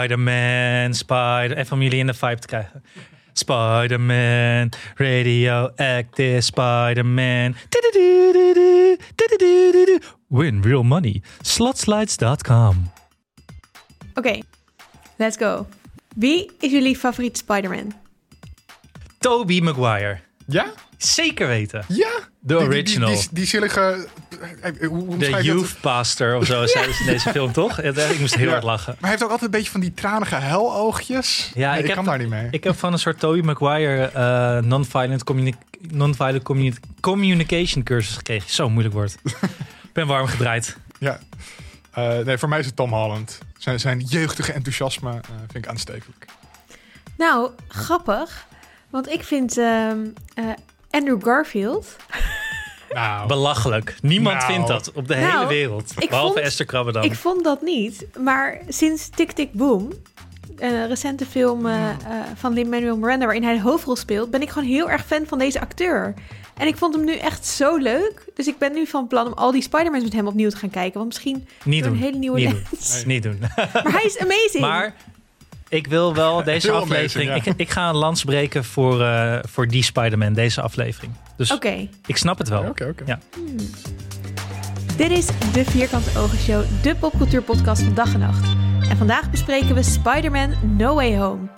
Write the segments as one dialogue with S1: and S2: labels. S1: Spider-Man, Spider... Even om jullie in de vibe te krijgen. Spider-Man, radioactive Spider-Man. Tududududu, tududududu. Win real money. Slotslides.com.
S2: Oké, let's go. Wie is jullie favoriet Spider-Man?
S1: Toby Maguire.
S3: Ja?
S1: Zeker weten.
S3: Ja?
S1: De
S3: Die- die-
S1: original.
S3: Die, die, die zielige... eh, Hoe, hoe
S1: De
S3: omschrijf je dat?
S1: youth pastor of zo zei ze in deze film, toch? Ik moest heel
S3: Ja.
S1: hard lachen.
S3: Maar hij heeft ook altijd een beetje van die tranige heloogjes.
S1: Ja,
S3: Nee,
S1: ik
S3: ik,
S1: heb
S3: kan daar niet mee.
S1: Ik heb van een soort Toby Maguire eh, non-violent, communi- non-violent communi- communication cursus gekregen. Zo'n moeilijk woord. Ik ben warm gedraaid.
S3: Ja. Eh, nee, voor mij is het Tom Holland. Zijn, zijn jeugdige enthousiasme eh, vind ik aanstekelijk.
S2: Nou, grappig. Want ik vind ehm, eh, Andrew Garfield...
S3: Nou,
S1: Oh. Belachelijk. Niemand
S3: Nou.
S1: vindt dat op de
S2: Nou,
S1: hele wereld.
S2: ik
S1: Behalve
S2: vond-
S1: Esther Krabbe dan.
S2: Ik vond dat niet. Maar sinds Tick Tick Boom, een recente film eh,
S1: Hmm.
S2: eh, van Lin-Manuel Miranda... waarin hij de hoofdrol speelt, ben ik gewoon heel erg fan van deze acteur. En ik vond hem nu echt zo leuk. Dus ik ben nu van plan om al die Spider-Mans met hem opnieuw te gaan kijken. Want misschien
S1: Niet
S2: door een
S1: doen.
S2: hele nieuwe
S1: Niet doen.
S2: lens.
S3: Nee.
S1: Niet doen.
S2: Maar hij is amazing.
S1: Maar ik wil wel deze
S3: Heel
S1: aflevering...
S3: amazing,
S1: ik, ik ga een lans breken voor, eh, voor die Spider-Man, deze aflevering. Dus
S2: Oké,
S1: ik snap het wel.
S3: oké, oké.
S1: Ja.
S2: dit is de Vierkante Ogen Show, de popcultuurpodcast van dag en nacht. En vandaag bespreken we Spider-Man No Way Home.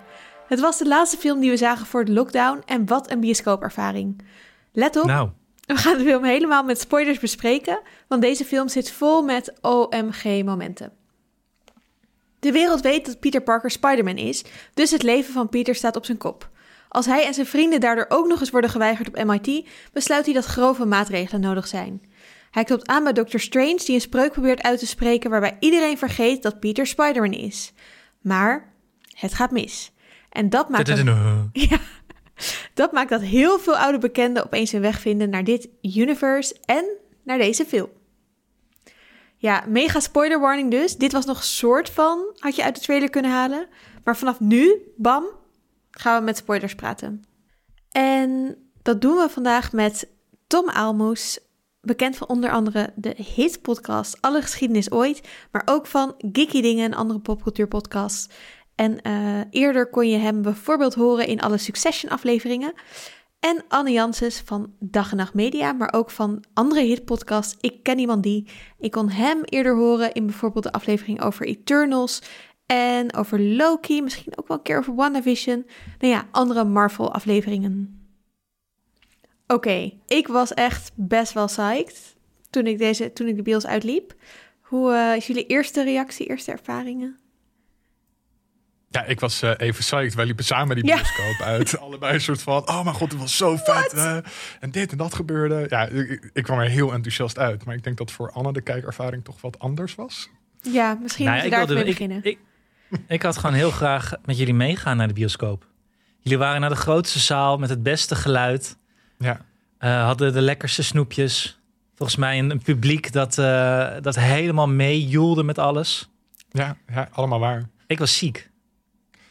S2: Het was de laatste film die we zagen voor de lockdown en wat een bioscoopervaring. Let op,
S1: Nou,
S2: we gaan de film helemaal met spoilers bespreken, want deze film zit vol met OMG-momenten. De wereld weet dat Peter Parker Spider-Man is, dus het leven van Peter staat op zijn kop. Als hij en zijn vrienden daardoor ook nog eens worden geweigerd op MIT, besluit hij dat grove maatregelen nodig zijn. Hij klopt aan bij Dr. Strange, die een spreuk probeert uit te spreken waarbij iedereen vergeet dat Peter Spider-Man is. Maar het gaat mis. En dat maakt hem-
S1: tudududu.
S2: ja. Dat maakt dat heel veel oude bekenden opeens hun weg vinden naar dit universe en naar deze film. Ja, mega spoiler warning dus. Dit was nog soort van, had je uit de trailer kunnen halen. Maar vanaf nu, bam, gaan we met spoilers praten. En dat doen we vandaag met Tom Aalmoes, bekend van onder andere de hitpodcast Alle Geschiedenis Ooit, maar ook van Geeky Dingen, een andere popcultuurpodcast. En eh, eerder kon je hem bijvoorbeeld horen in alle Succession-afleveringen. En Anne Janssens van Dag en Nacht Media, maar ook van andere hitpodcasts. Ik ken iemand die. Ik kon hem eerder horen in bijvoorbeeld de aflevering over Eternals. En over Loki, misschien ook wel een keer over WandaVision. Nou ja, andere Marvel-afleveringen. Oké, ik was echt best wel psyched toen ik, deze, toen ik de bios uitliep. Hoe eh, is jullie eerste reactie, eerste ervaringen?
S3: Ja, ik was eh, even psyched. Wij liepen samen die
S2: Ja.
S3: bioscoop uit. Allebei een soort van, oh mijn god, het was zo vet. eh, en dit en dat gebeurde. Ja, ik, ik kwam er heel enthousiast uit. Maar ik denk dat voor Anne de kijkervaring toch wat anders was.
S2: Ja, misschien
S1: Nou ja,
S2: moet je
S1: ik
S2: daar
S1: wilde-
S2: even mee
S1: ik-
S2: beginnen.
S1: Ik, ik had gewoon heel graag met jullie meegaan naar de bioscoop. Jullie waren naar de grootste zaal met het beste geluid.
S3: Ja.
S1: eh, hadden de lekkerste snoepjes. Volgens mij een, een publiek dat, eh, dat helemaal meejoelde met alles.
S3: Ja, ja allemaal waar.
S1: Ik was ziek.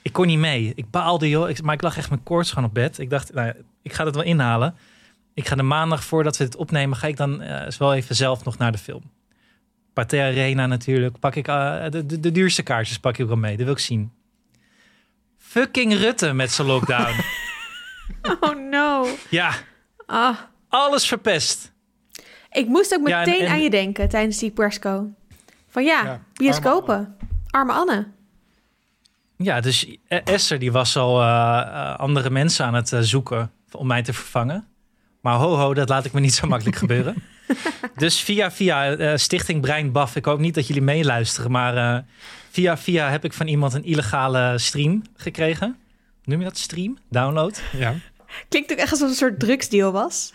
S1: Ik kon niet mee. Ik baalde, joh. Ik, maar ik lag echt mijn koorts gewoon op bed. Ik dacht, nou, ja, ik ga dat wel inhalen. Ik ga de maandag voordat we dit opnemen, ga ik dan eh, eens wel even zelf nog naar de film. Pathé Arena natuurlijk. Pak ik, eh, de, de, de duurste kaartjes pak ik wel mee. Dat wil ik zien. Fucking Rutte met zijn lockdown.
S2: Oh no.
S1: ja,
S2: Ah,
S1: alles verpest.
S2: ik moest ook
S1: Ja, en-
S2: meteen
S1: en-
S2: aan je denken tijdens die persco. Van ja,
S3: Ja,
S2: bioscopen. Arme Anne.
S1: Ja, dus eh, Esther die was al eh, eh, andere mensen aan het eh, zoeken om mij te vervangen. Maar ho ho, dat laat ik me niet zo makkelijk gebeuren. Dus via via eh, Stichting Brein Baf, ik hoop niet dat jullie meeluisteren, maar eh, via via heb ik van iemand een illegale stream gekregen. Noem je dat stream? Download?
S3: Ja.
S2: Klinkt ook echt alsof het een soort drugsdeal was.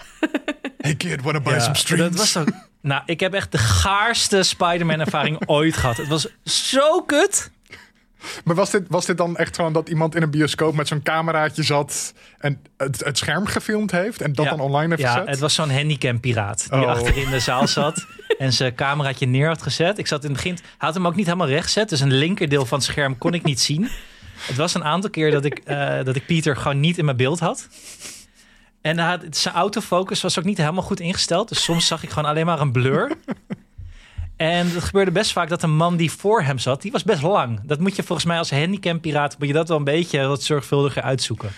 S3: Hey kid, wanna buy
S1: Ja,
S3: some streams?
S1: Dat was ook. Nou, ik heb echt de gaarste Spider-Man-ervaring ooit gehad. Het was zo kut.
S3: Maar was dit, was dit dan echt gewoon dat iemand in een bioscoop met zo'n cameraatje zat en het, het scherm gefilmd heeft en dat
S1: Ja.
S3: dan online heeft
S1: ja,
S3: gezet?
S1: het was zo'n handicap-piraat die
S3: Oh.
S1: achterin de zaal zat en zijn cameraatje neer had gezet. Ik zat in het begin, hij had hem ook niet helemaal recht gezet, dus een linkerdeel van het scherm kon ik niet zien. Het was een aantal keer dat ik, eh, dat ik Pieter gewoon niet in mijn beeld had. En hij had, zijn autofocus was ook niet helemaal goed ingesteld, dus soms zag ik gewoon alleen maar een blur. En het gebeurde best vaak dat een man die voor hem zat, die was best lang. Dat moet je volgens mij als handicappiraat, moet je dat wel een beetje wat zorgvuldiger uitzoeken.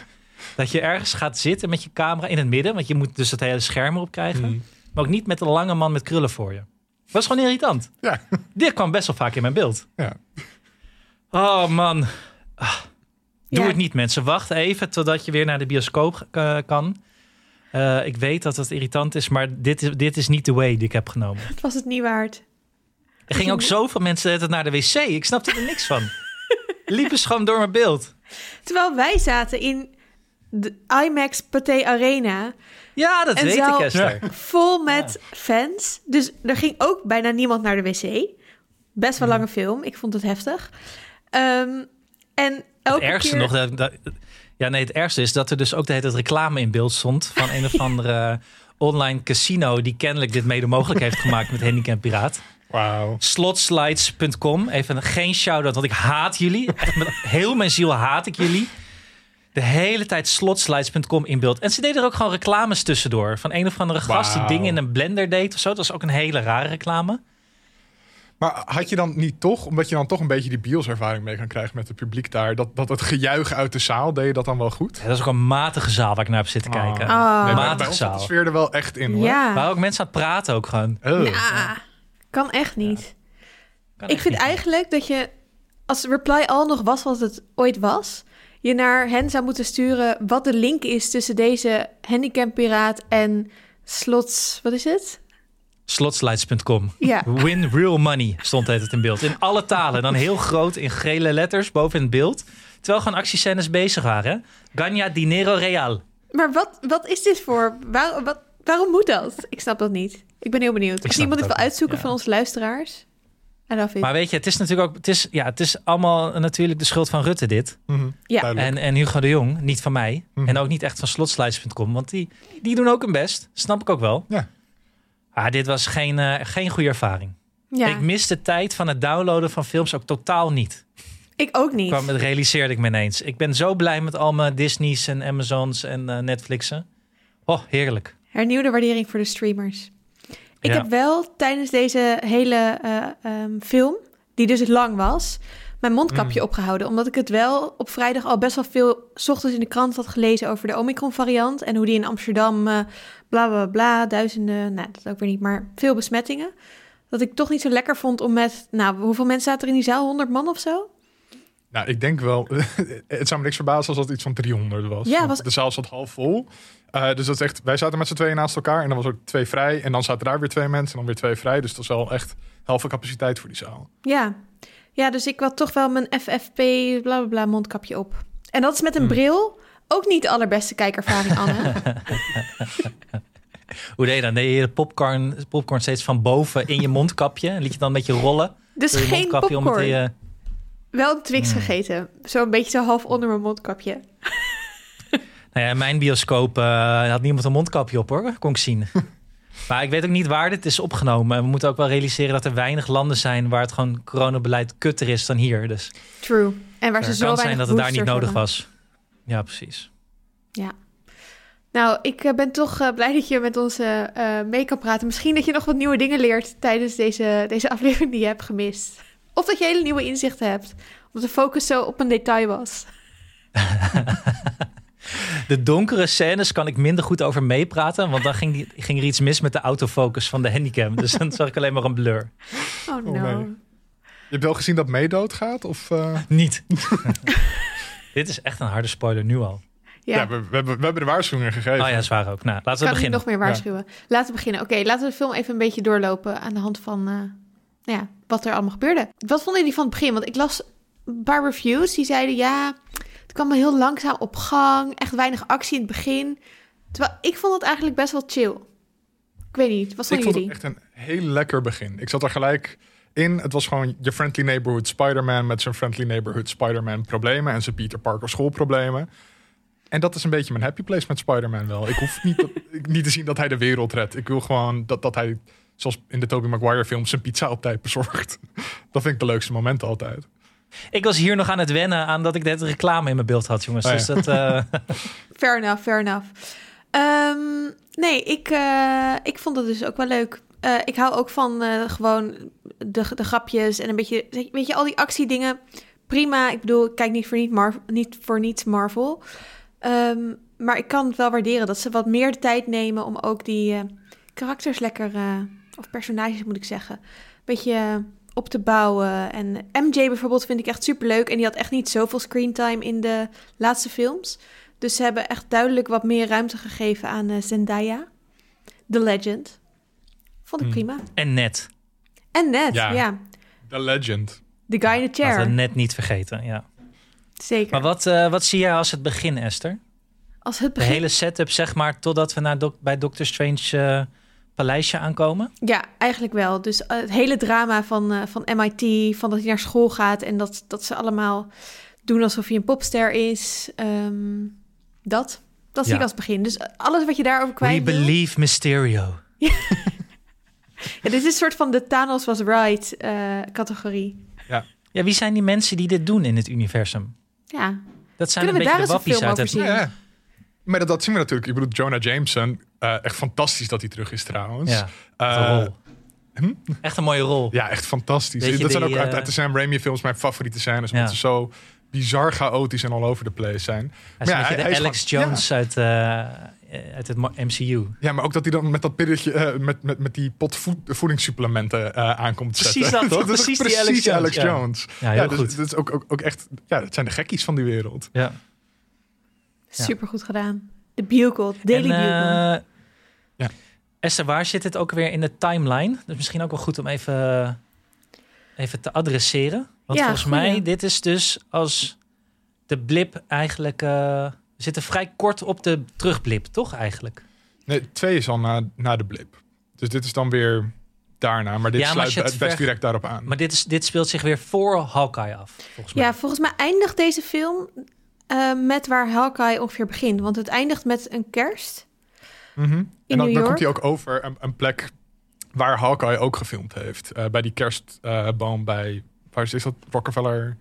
S1: Dat je ergens gaat zitten met je camera in het midden, want je moet dus dat hele scherm erop krijgen.
S3: Mm.
S1: Maar ook niet met een lange man met krullen voor je. Was gewoon irritant.
S3: Ja.
S1: Dit kwam best wel vaak in mijn beeld.
S3: Ja.
S1: Oh man, doe
S2: Ja.
S1: het niet mensen. Wacht even totdat je weer naar de bioscoop eh, kan. Eh, ik weet dat het irritant is, maar dit is, dit is niet de way die ik heb genomen.
S2: Het was het niet waard.
S1: Er gingen ook zoveel mensen de hele tijd naar de wc. Ik snapte er niks van. Liepen ze gewoon door mijn beeld.
S2: Terwijl wij zaten in de IMAX Pathé Arena,
S1: Ja, dat
S2: En
S1: weet
S2: zou-
S1: ik, Esther.
S2: vol met fans. Dus er ging ook bijna niemand naar de wc.
S1: Mhm.
S2: Best wel lange film, ik vond het heftig. Ehm, en
S1: Het
S2: elke
S1: ergste
S2: keer...
S1: nog... Dat, dat- ja, nee, het ergste is dat er dus ook de hele tijd reclame in beeld stond... van een of andere eh, online casino... die kennelijk dit mede mogelijk heeft gemaakt met Handicap Piraat.
S3: Wauw.
S1: Slotslides.com. Even een- geen shout-out, want ik haat jullie. Echt met heel mijn ziel haat ik jullie. De hele tijd slotslides.com in beeld. En ze deden er ook gewoon reclames tussendoor. Van een of andere gast die
S3: Wauw.
S1: dingen in een blender deed of zo. Dat was ook een hele rare reclame.
S3: Maar had je dan niet toch, omdat je dan toch een beetje die bielservaring mee kan krijgen met het publiek daar, dat, dat het gejuich uit de zaal deed je dat dan wel goed?
S1: Ja, dat is ook een matige zaal waar ik naar heb zitten kijken.
S3: Ah.
S2: Ah.
S3: Nee, bij, bij
S1: Matige
S3: ons zat
S1: zaal.
S3: de sfeer er wel echt in hoor.
S2: ja.
S1: Waar ook mensen aan het praten ook gewoon.
S3: Oh.
S2: Ah, kan echt niet.
S1: Kan
S2: ik
S1: echt
S2: vind
S1: niet.
S2: eigenlijk dat je, als Reply All nog was wat het ooit was, je naar hen zou moeten sturen wat de link is tussen deze handicappiraat en slots, wat is het?
S1: Slotslides.com.
S2: Ja.
S1: Win real money stond het in beeld. In alle talen. Dan heel groot in gele letters boven in het beeld. Terwijl gewoon actiescènes bezig waren. Ganya dinero real.
S2: Maar wat, wat is dit voor? Waar, wat, waarom moet dat? Ik snap dat niet. Ik ben heel benieuwd. Als
S1: snap
S2: iemand
S1: het
S2: het wil
S1: ook niet,
S2: uitzoeken
S1: ja.
S2: van onze luisteraars. I love it.
S1: Maar weet je, het is natuurlijk ook... Het is, ja, het is allemaal natuurlijk de schuld van Rutte dit.
S3: Mhm.
S2: Ja.
S3: Duidelijk.
S1: En, en Hugo de Jong. Niet van mij.
S3: Mhm.
S1: En ook niet echt van slotslides.com. Want die, die doen ook hun best. Snap ik ook wel.
S3: Ja.
S1: Ah, dit was geen, eh, geen goede ervaring.
S2: ja.
S1: Ik
S2: Ik,
S1: mis de tijd van het downloaden van films ook totaal niet.
S2: ook niet.
S1: Kwam, dat realiseerde ik me ineens. Ik ben zo blij met al mijn Disney's en Amazons en eh, Netflixen. Oh, heerlijk.
S2: Hernieuwde waardering voor de streamers. Ik
S1: Ja.
S2: heb wel tijdens deze hele eh, ehm, film, die dus lang was, mijn mondkapje opgehouden. Omdat ik het wel op vrijdag al best wel veel 's ochtends in de krant had gelezen over de Omicron-variant. En hoe die in Amsterdam eh, bla bla bla, duizenden, nou dat ook weer niet, maar veel besmettingen. Dat ik toch niet zo lekker vond om met, nou hoeveel mensen zaten er in die zaal? 100 man of zo?
S3: Nou, ik denk wel. het zou me niks verbazen als dat iets van 300 was.
S2: Ja,
S3: Want
S2: was-
S3: De zaal zat half vol. Eh, dus dat is echt, wij zaten met z'n tweeën naast elkaar en dan was er twee vrij. En dan zaten daar weer twee mensen en dan weer twee vrij. Dus dat is wel echt halve capaciteit voor die zaal.
S2: Ja. ja, dus ik had toch wel mijn FFP bla bla bla mondkapje op. En dat is
S1: Hm.
S2: met een bril ook niet de allerbeste kijkervaring, Anne.
S1: Hoe deed je dan? Deed je de popcorn, popcorn steeds van boven in je mondkapje? En liet je dan een beetje rollen?
S2: Dus
S1: door je
S2: geen
S1: mondkapje
S2: popcorn.
S1: Om het, eh,
S2: Wel Twix gegeten. Zo'n beetje zo half onder mijn mondkapje.
S1: nou ja, in mijn bioscoop eh, had niemand een mondkapje op hoor. Kon ik zien. maar ik weet ook niet waar dit is opgenomen. En we moeten ook wel realiseren dat er weinig landen zijn... waar het gewoon coronabeleid kutter is dan hier. Dus
S2: True. En waar ze
S1: het
S2: zo
S1: kan
S2: weinig
S1: zijn dat het daar niet
S2: boosters
S1: nodig
S2: hebben.
S1: was. Ja, precies.
S2: Nou, ik eh, ben toch eh, blij dat je met ons eh, eh, mee kan praten. Misschien dat je nog wat nieuwe dingen leert tijdens deze, deze aflevering die je hebt gemist. Of dat je hele nieuwe inzichten hebt. Omdat de focus zo op een detail was.
S1: De donkere scènes kan ik minder goed over meepraten. Want dan ging, die, ging er iets mis met de autofocus van de handicap. Dus dan zag ik alleen maar een blur.
S2: Oh no.
S3: nee. Je hebt wel gezien dat May doodgaat? Of, eh,
S1: Niet. Dit is echt een harde spoiler nu al.
S2: Ja,
S3: ja, we, we, hebben- we hebben de waarschuwingen gegeven.
S1: Oh ja, zwaar ook. Nou, laten we
S2: kan ik
S1: beginnen.
S2: nog meer waarschuwen. Laten we beginnen. Oké, laten we de film even een beetje doorlopen aan de hand van eh, nou ja, wat er allemaal gebeurde. Wat vonden jullie van het begin? Want ik las een paar reviews die zeiden ja, het kwam wel heel langzaam op gang, echt weinig actie in het begin. Terwijl ik vond het eigenlijk best wel chill. Ik weet niet, wat
S3: Ik
S2: vonden
S3: vond
S2: jullie?
S3: het echt een heel lekker begin. Ik zat er gelijk in. Het was gewoon je friendly neighborhood Spider-Man met zijn friendly neighborhood Spider-Man problemen en zijn Peter Parker schoolproblemen. En dat is een beetje mijn happy place met Spider-Man wel. Ik hoef niet, dat- ik- niet te zien dat hij de wereld redt. Ik wil gewoon dat, dat hij, zoals in de Tobey Maguire films, zijn pizza op tijd bezorgt. Dat vind ik de leukste momenten altijd.
S1: Ik was hier nog aan het wennen aan dat ik net reclame in mijn beeld had, jongens.
S3: Oh ja.
S1: Dus dat, eh,
S2: Fair enough, fair enough. Ehm, nee, ik, eh, ik vond het dus ook wel leuk. eh, ik hou ook van eh, gewoon de, de grapjes en een beetje, weet je, al die actiedingen. Prima, ik bedoel, ik kijk niet voor, niet Mar niet voor niets Marvel. Ehm, maar ik kan het wel waarderen dat ze wat meer de tijd nemen om ook die eh, karakters lekker, eh, of personages moet ik zeggen, een beetje eh, op te bouwen. En MJ bijvoorbeeld vind ik echt superleuk. En die had echt niet zoveel screentime in de laatste films. Dus ze hebben echt duidelijk wat meer ruimte gegeven aan eh, Zendaya. The Legend. Vond ik
S3: Hmm.
S2: prima.
S1: En net.
S2: En net, ja.
S3: Ja. The Legend.
S2: The guy in the
S1: Laten we
S2: chair.
S1: net niet vergeten. Ja.
S2: Zeker.
S1: Maar wat, eh, wat zie jij als het begin, Esther?
S2: Als
S1: De
S2: het begin...
S1: hele setup, zeg maar, totdat we naar doc- bij Doctor Strange eh, paleisje aankomen.
S2: Ja, eigenlijk wel. Dus eh, het hele drama van, eh, van MIT, van dat hij naar school gaat en dat, dat ze allemaal doen alsof hij een popster is. ehm, dat. Dat zie
S1: Ja.
S2: ik als begin. Dus eh, alles wat je daarover kwijt
S1: We
S2: wil-
S1: believe Mysterio.
S2: Ja, dit is een soort van de Thanos was right eh, categorie.
S1: Ja, wie zijn die mensen die dit doen in het universum?
S2: Ja.
S1: Dat zijn een beetje
S2: Kunnen we
S1: de
S2: daar eens een
S1: wappies
S2: film
S1: uit het...
S2: over
S3: Ja, ja. Maar dat, dat zien we natuurlijk. Ik bedoel, Jonah Jameson. eh, echt fantastisch dat hij terug is trouwens.
S1: Ja,
S3: Eh, hm?
S1: wat een rol. Echt een mooie rol.
S3: Ja, echt fantastisch.
S1: Weet je,
S3: dat zijn
S1: die,
S3: ook uit,
S1: eh,
S3: uit de Sam Raimi films mijn favoriete scènes. Omdat
S1: Ja.
S3: ze zo bizar chaotisch en all over the place zijn.
S1: Hij is
S3: Maar ja,
S1: een beetje
S3: hij-
S1: de
S3: hij is
S1: Alex
S3: gewoon-
S1: Jones uit, eh, eh, uit het mo- MCU.
S3: Ja, maar ook dat hij dan met dat pilletje, eh, met, met, met die pot voed- voedingssupplementen eh aankomt te
S1: Precies
S3: zetten.
S1: dat, toch?
S3: is
S1: Precies
S3: ook
S1: die Alex Jones,
S3: precies
S1: ja.
S3: Jones.
S1: Ja, heel
S3: dus,
S1: goed.
S3: Dat is ook, ook, ook echt, ja, het zijn de gekkies van die wereld.
S1: Ja. Ja.
S2: Super goed gedaan. De Bugle, Daily
S1: En,
S2: Bugle.
S1: eh,
S3: Ja.
S1: Esther, waar zit het ook weer in de timeline? Dus misschien ook wel goed om even, even te adresseren. Want
S2: Ja,
S1: volgens
S2: goeie.
S1: mij, dit is dus als de blip eigenlijk... eh, we zitten vrij kort op de terugblip, toch eigenlijk?
S3: Nee, twee is al na, na de blip. Dus dit is dan weer daarna. Maar dit
S1: Ja, maar als
S3: sluit
S1: je het
S3: het best
S1: ver-
S3: direct daarop aan.
S1: Maar dit, is, dit speelt zich weer voor Hawkeye af, volgens mij.
S2: Ja, volgens mij eindigt deze film eh, met waar Hawkeye ongeveer begint. Want het eindigt met een kerst.
S3: Mhm.
S2: In
S3: En dan,
S2: New
S3: dan
S2: York?
S3: komt hij ook over een, een plek waar Hawkeye ook gefilmd heeft. Eh, bij die kerstboom bij... Waar is, is dat? Rockefeller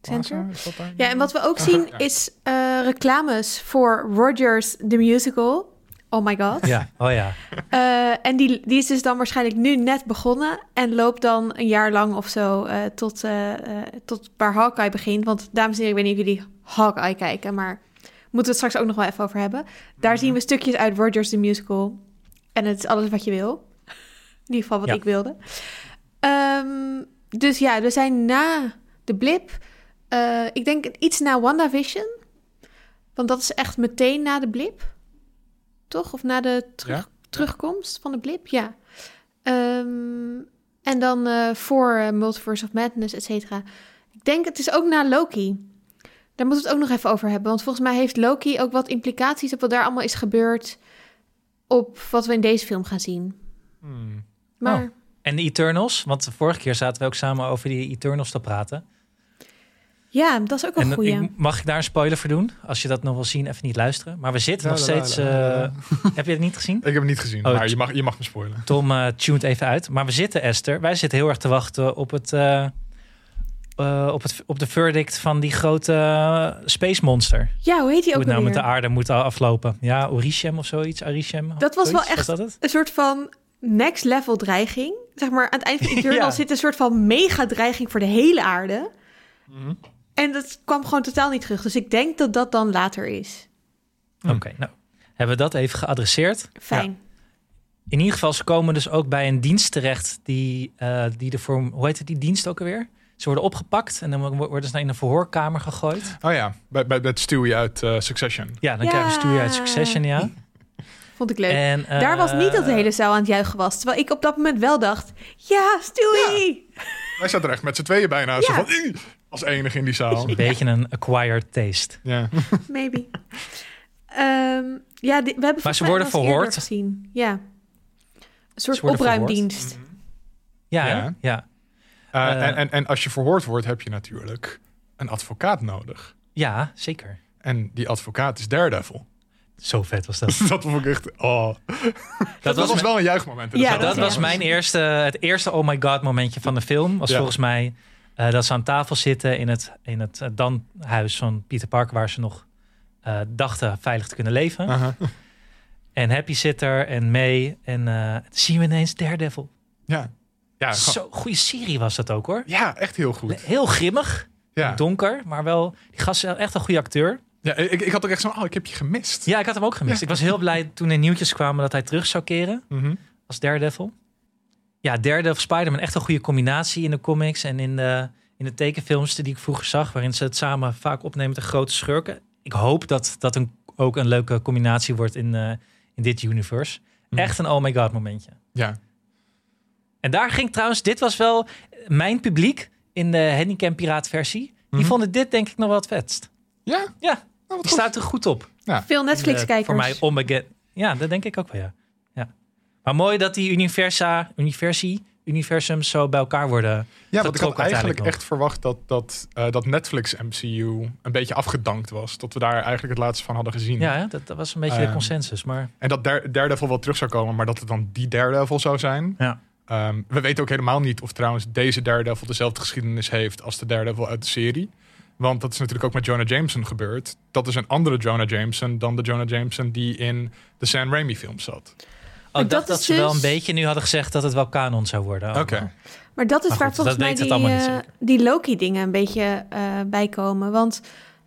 S3: Plaza?
S2: Center?
S3: Is dat daar?
S2: Ja, en wat we ook zien
S3: Ja.
S2: is eh, reclames voor Rogers the Musical. Oh my god.
S1: Ja, oh ja.
S2: Eh, en die, die is dus dan waarschijnlijk nu net begonnen. En loopt dan een jaar lang of zo eh, tot, eh, eh, tot waar Hawkeye begint. Want dames en heren, ik weet niet of jullie Hawkeye kijken. Maar moeten we het straks ook nog wel even over hebben. Daar zien we stukjes uit Rogers the Musical. En het is alles wat je wil. In ieder geval wat
S1: Ja.
S2: ik wilde. Ehm, dus ja, we zijn na de blip. eh, ik denk iets na WandaVision. Want dat is echt meteen na de blip. Toch? Of na de terug,
S3: Ja.
S2: terugkomst van de blip, ja. Ehm, en dan eh, voor eh, Multiverse of Madness, et cetera. Ik denk, het is ook na Loki. Daar moeten we het ook nog even over hebben. Want volgens mij heeft Loki ook wat implicaties op wat daar allemaal is gebeurd. Op wat we in deze film gaan zien.
S3: Hmm.
S2: Maar
S1: Oh. En de Eternals, want de vorige keer zaten we ook samen over die Eternals te praten.
S2: ja, dat is ook een
S1: En
S2: Oh,
S1: eh,
S2: goeie.
S1: ik, mag ik daar een spoiler voor doen? Als je dat nog wil zien, even niet luisteren. Maar we zitten nog
S3: La, la, la,
S1: steeds...
S3: la, la, la.
S1: eh, heb je het niet gezien?
S3: Ik heb hem niet gezien,
S1: Oh,
S3: maar
S1: het-
S3: je mag, je mag me spoilen.
S1: Tom eh tuned even uit. Maar we zitten, Esther. Wij zitten heel erg te wachten op het. eh, eh, op, het, op de verdict van die grote eh, space monster. Hoe
S2: Ja, hoe heet die ook
S1: het nou met de
S2: alweer?
S1: aarde moet aflopen. Ja, Orishem of zoiets. Arishem.
S2: Dat was wel
S1: zoiets?
S2: echt-
S1: Was dat het?
S2: Een soort van next level dreiging. Zeg maar, aan het eind van Eternal
S1: Ja.
S2: zit een soort van mega dreiging voor de hele aarde.
S3: Mhm.
S2: En dat kwam gewoon totaal niet terug. Dus ik denk dat dat dan later is.
S3: Hm.
S1: Oké, nou. Hebben we dat even geadresseerd?
S2: Fijn.
S1: In ieder geval, ze komen dus ook bij een dienst terecht die, eh die ervoor. Hoe heet het, die dienst ook alweer? Ze worden opgepakt en dan wo- worden ze in een verhoorkamer gegooid.
S3: Oh ja, bij, bij, bij Stewie uit eh, Succession.
S1: Ja, dan
S2: Ja.
S1: krijgen ze stuur uit Succession, ja.
S2: Vond ik leuk.
S1: En,
S2: Daar was niet dat de
S1: eh,
S2: hele zaal aan het juichen was. Terwijl ik op dat moment wel dacht... Ja, Stewie!
S3: Wij zaten er echt met z'n tweeën bijna. Zo van, "Ih!" als enige in die zaal.
S1: Een beetje een acquired taste.
S3: Ja.
S2: Maybe. Ehm, ja, di- we hebben volgens
S1: worden
S2: mij wel eens eerder
S1: verhoord.
S2: Gezien. Ja. Een soort
S1: Ze worden
S2: opruimdienst.
S1: Ja,
S3: Ja.
S1: hè? ja.
S3: Eh,
S1: Eh.
S3: en, en, en als je verhoord wordt, heb je natuurlijk een advocaat nodig.
S1: Ja, zeker.
S3: En die advocaat is Daredevil.
S1: Zo vet was dat.
S3: Dat vond ik echt... Oh.
S1: dat was,
S3: Dat, was,
S1: mijn,
S3: wel een juichmoment. in de
S2: Ja,
S3: zaal.
S1: dat
S2: Ja.
S1: was mijn eerste, het eerste oh my god momentje van de film. Was
S3: Ja.
S1: volgens mij eh, dat ze aan tafel zitten in het, in het eh, dan huis van Peter Parker, waar ze nog eh, dachten veilig te kunnen leven.
S3: Aha.
S1: En Happy zit er en May. En eh zien we ineens Daredevil.
S3: Ja. Ja, gewoon-
S1: Zo goede serie was dat ook hoor.
S3: ja, echt heel goed.
S1: Heel grimmig,
S3: Ja,
S1: donker, maar wel. Die gast is echt een goede acteur.
S3: ja ik, ik had ook echt zo'n, oh, ik heb je gemist.
S1: Ja, ik had hem ook gemist. Ik was heel blij toen er nieuwtjes kwamen dat hij terug zou keren.
S3: Mhm.
S1: als Daredevil. Ja, Daredevil, Spider-Man, echt een goede combinatie in de comics en in de, in de tekenfilms die ik vroeger zag, waarin ze het samen vaak opnemen met de grote schurken. Ik hoop dat dat een, ook een leuke combinatie wordt in, eh, in dit universe.
S3: Mhm.
S1: Echt een oh my god momentje.
S3: Ja.
S1: En daar ging trouwens, dit was wel mijn publiek in de Handycam Piraat versie. Die
S3: Mhm.
S1: vonden dit denk ik nog wel het vetst.
S3: Ja?
S1: Ja.
S3: Nou, wat
S1: Die
S3: goed.
S1: staat er goed op. Eh,
S2: Veel Netflix-kijkers.
S1: Voor mij onbekend. Ja, dat denk ik ook wel, ja. ja. Maar mooi dat die universa, universi, universums zo bij elkaar worden.
S3: Ja,
S1: Dat
S3: want ik had
S1: trok uiteindelijk
S3: eigenlijk
S1: nog.
S3: echt verwacht dat, dat, eh, dat Netflix MCU een beetje afgedankt was. Dat we daar eigenlijk het laatste van hadden gezien.
S1: Ja, hè, dat, dat was een beetje de
S3: Ehm,
S1: consensus. Maar
S3: En dat Dare- Daredevil wel terug zou komen, maar dat het dan die Daredevil zou zijn.
S1: Ja.
S3: Ehm, we weten ook helemaal niet of trouwens deze Daredevil dezelfde geschiedenis heeft als de Daredevil uit de serie. Want dat is natuurlijk ook met Jonah Jameson gebeurd. Dat is een andere Jonah Jameson dan de Jonah Jameson die in de Sam Raimi film zat.
S1: oh, ik
S2: dat
S1: dacht dat
S2: is
S1: ze wel
S2: dus-
S1: een beetje nu hadden gezegd dat het wel kanon zou worden. Oh. allemaal.
S2: Maar dat is
S1: Maar
S2: waar
S1: goed,
S2: volgens
S1: dat
S2: mij
S1: weet het
S2: die,
S1: allemaal niet
S2: eh,
S1: zeker.
S2: die Loki-dingen een beetje eh, bij komen. Want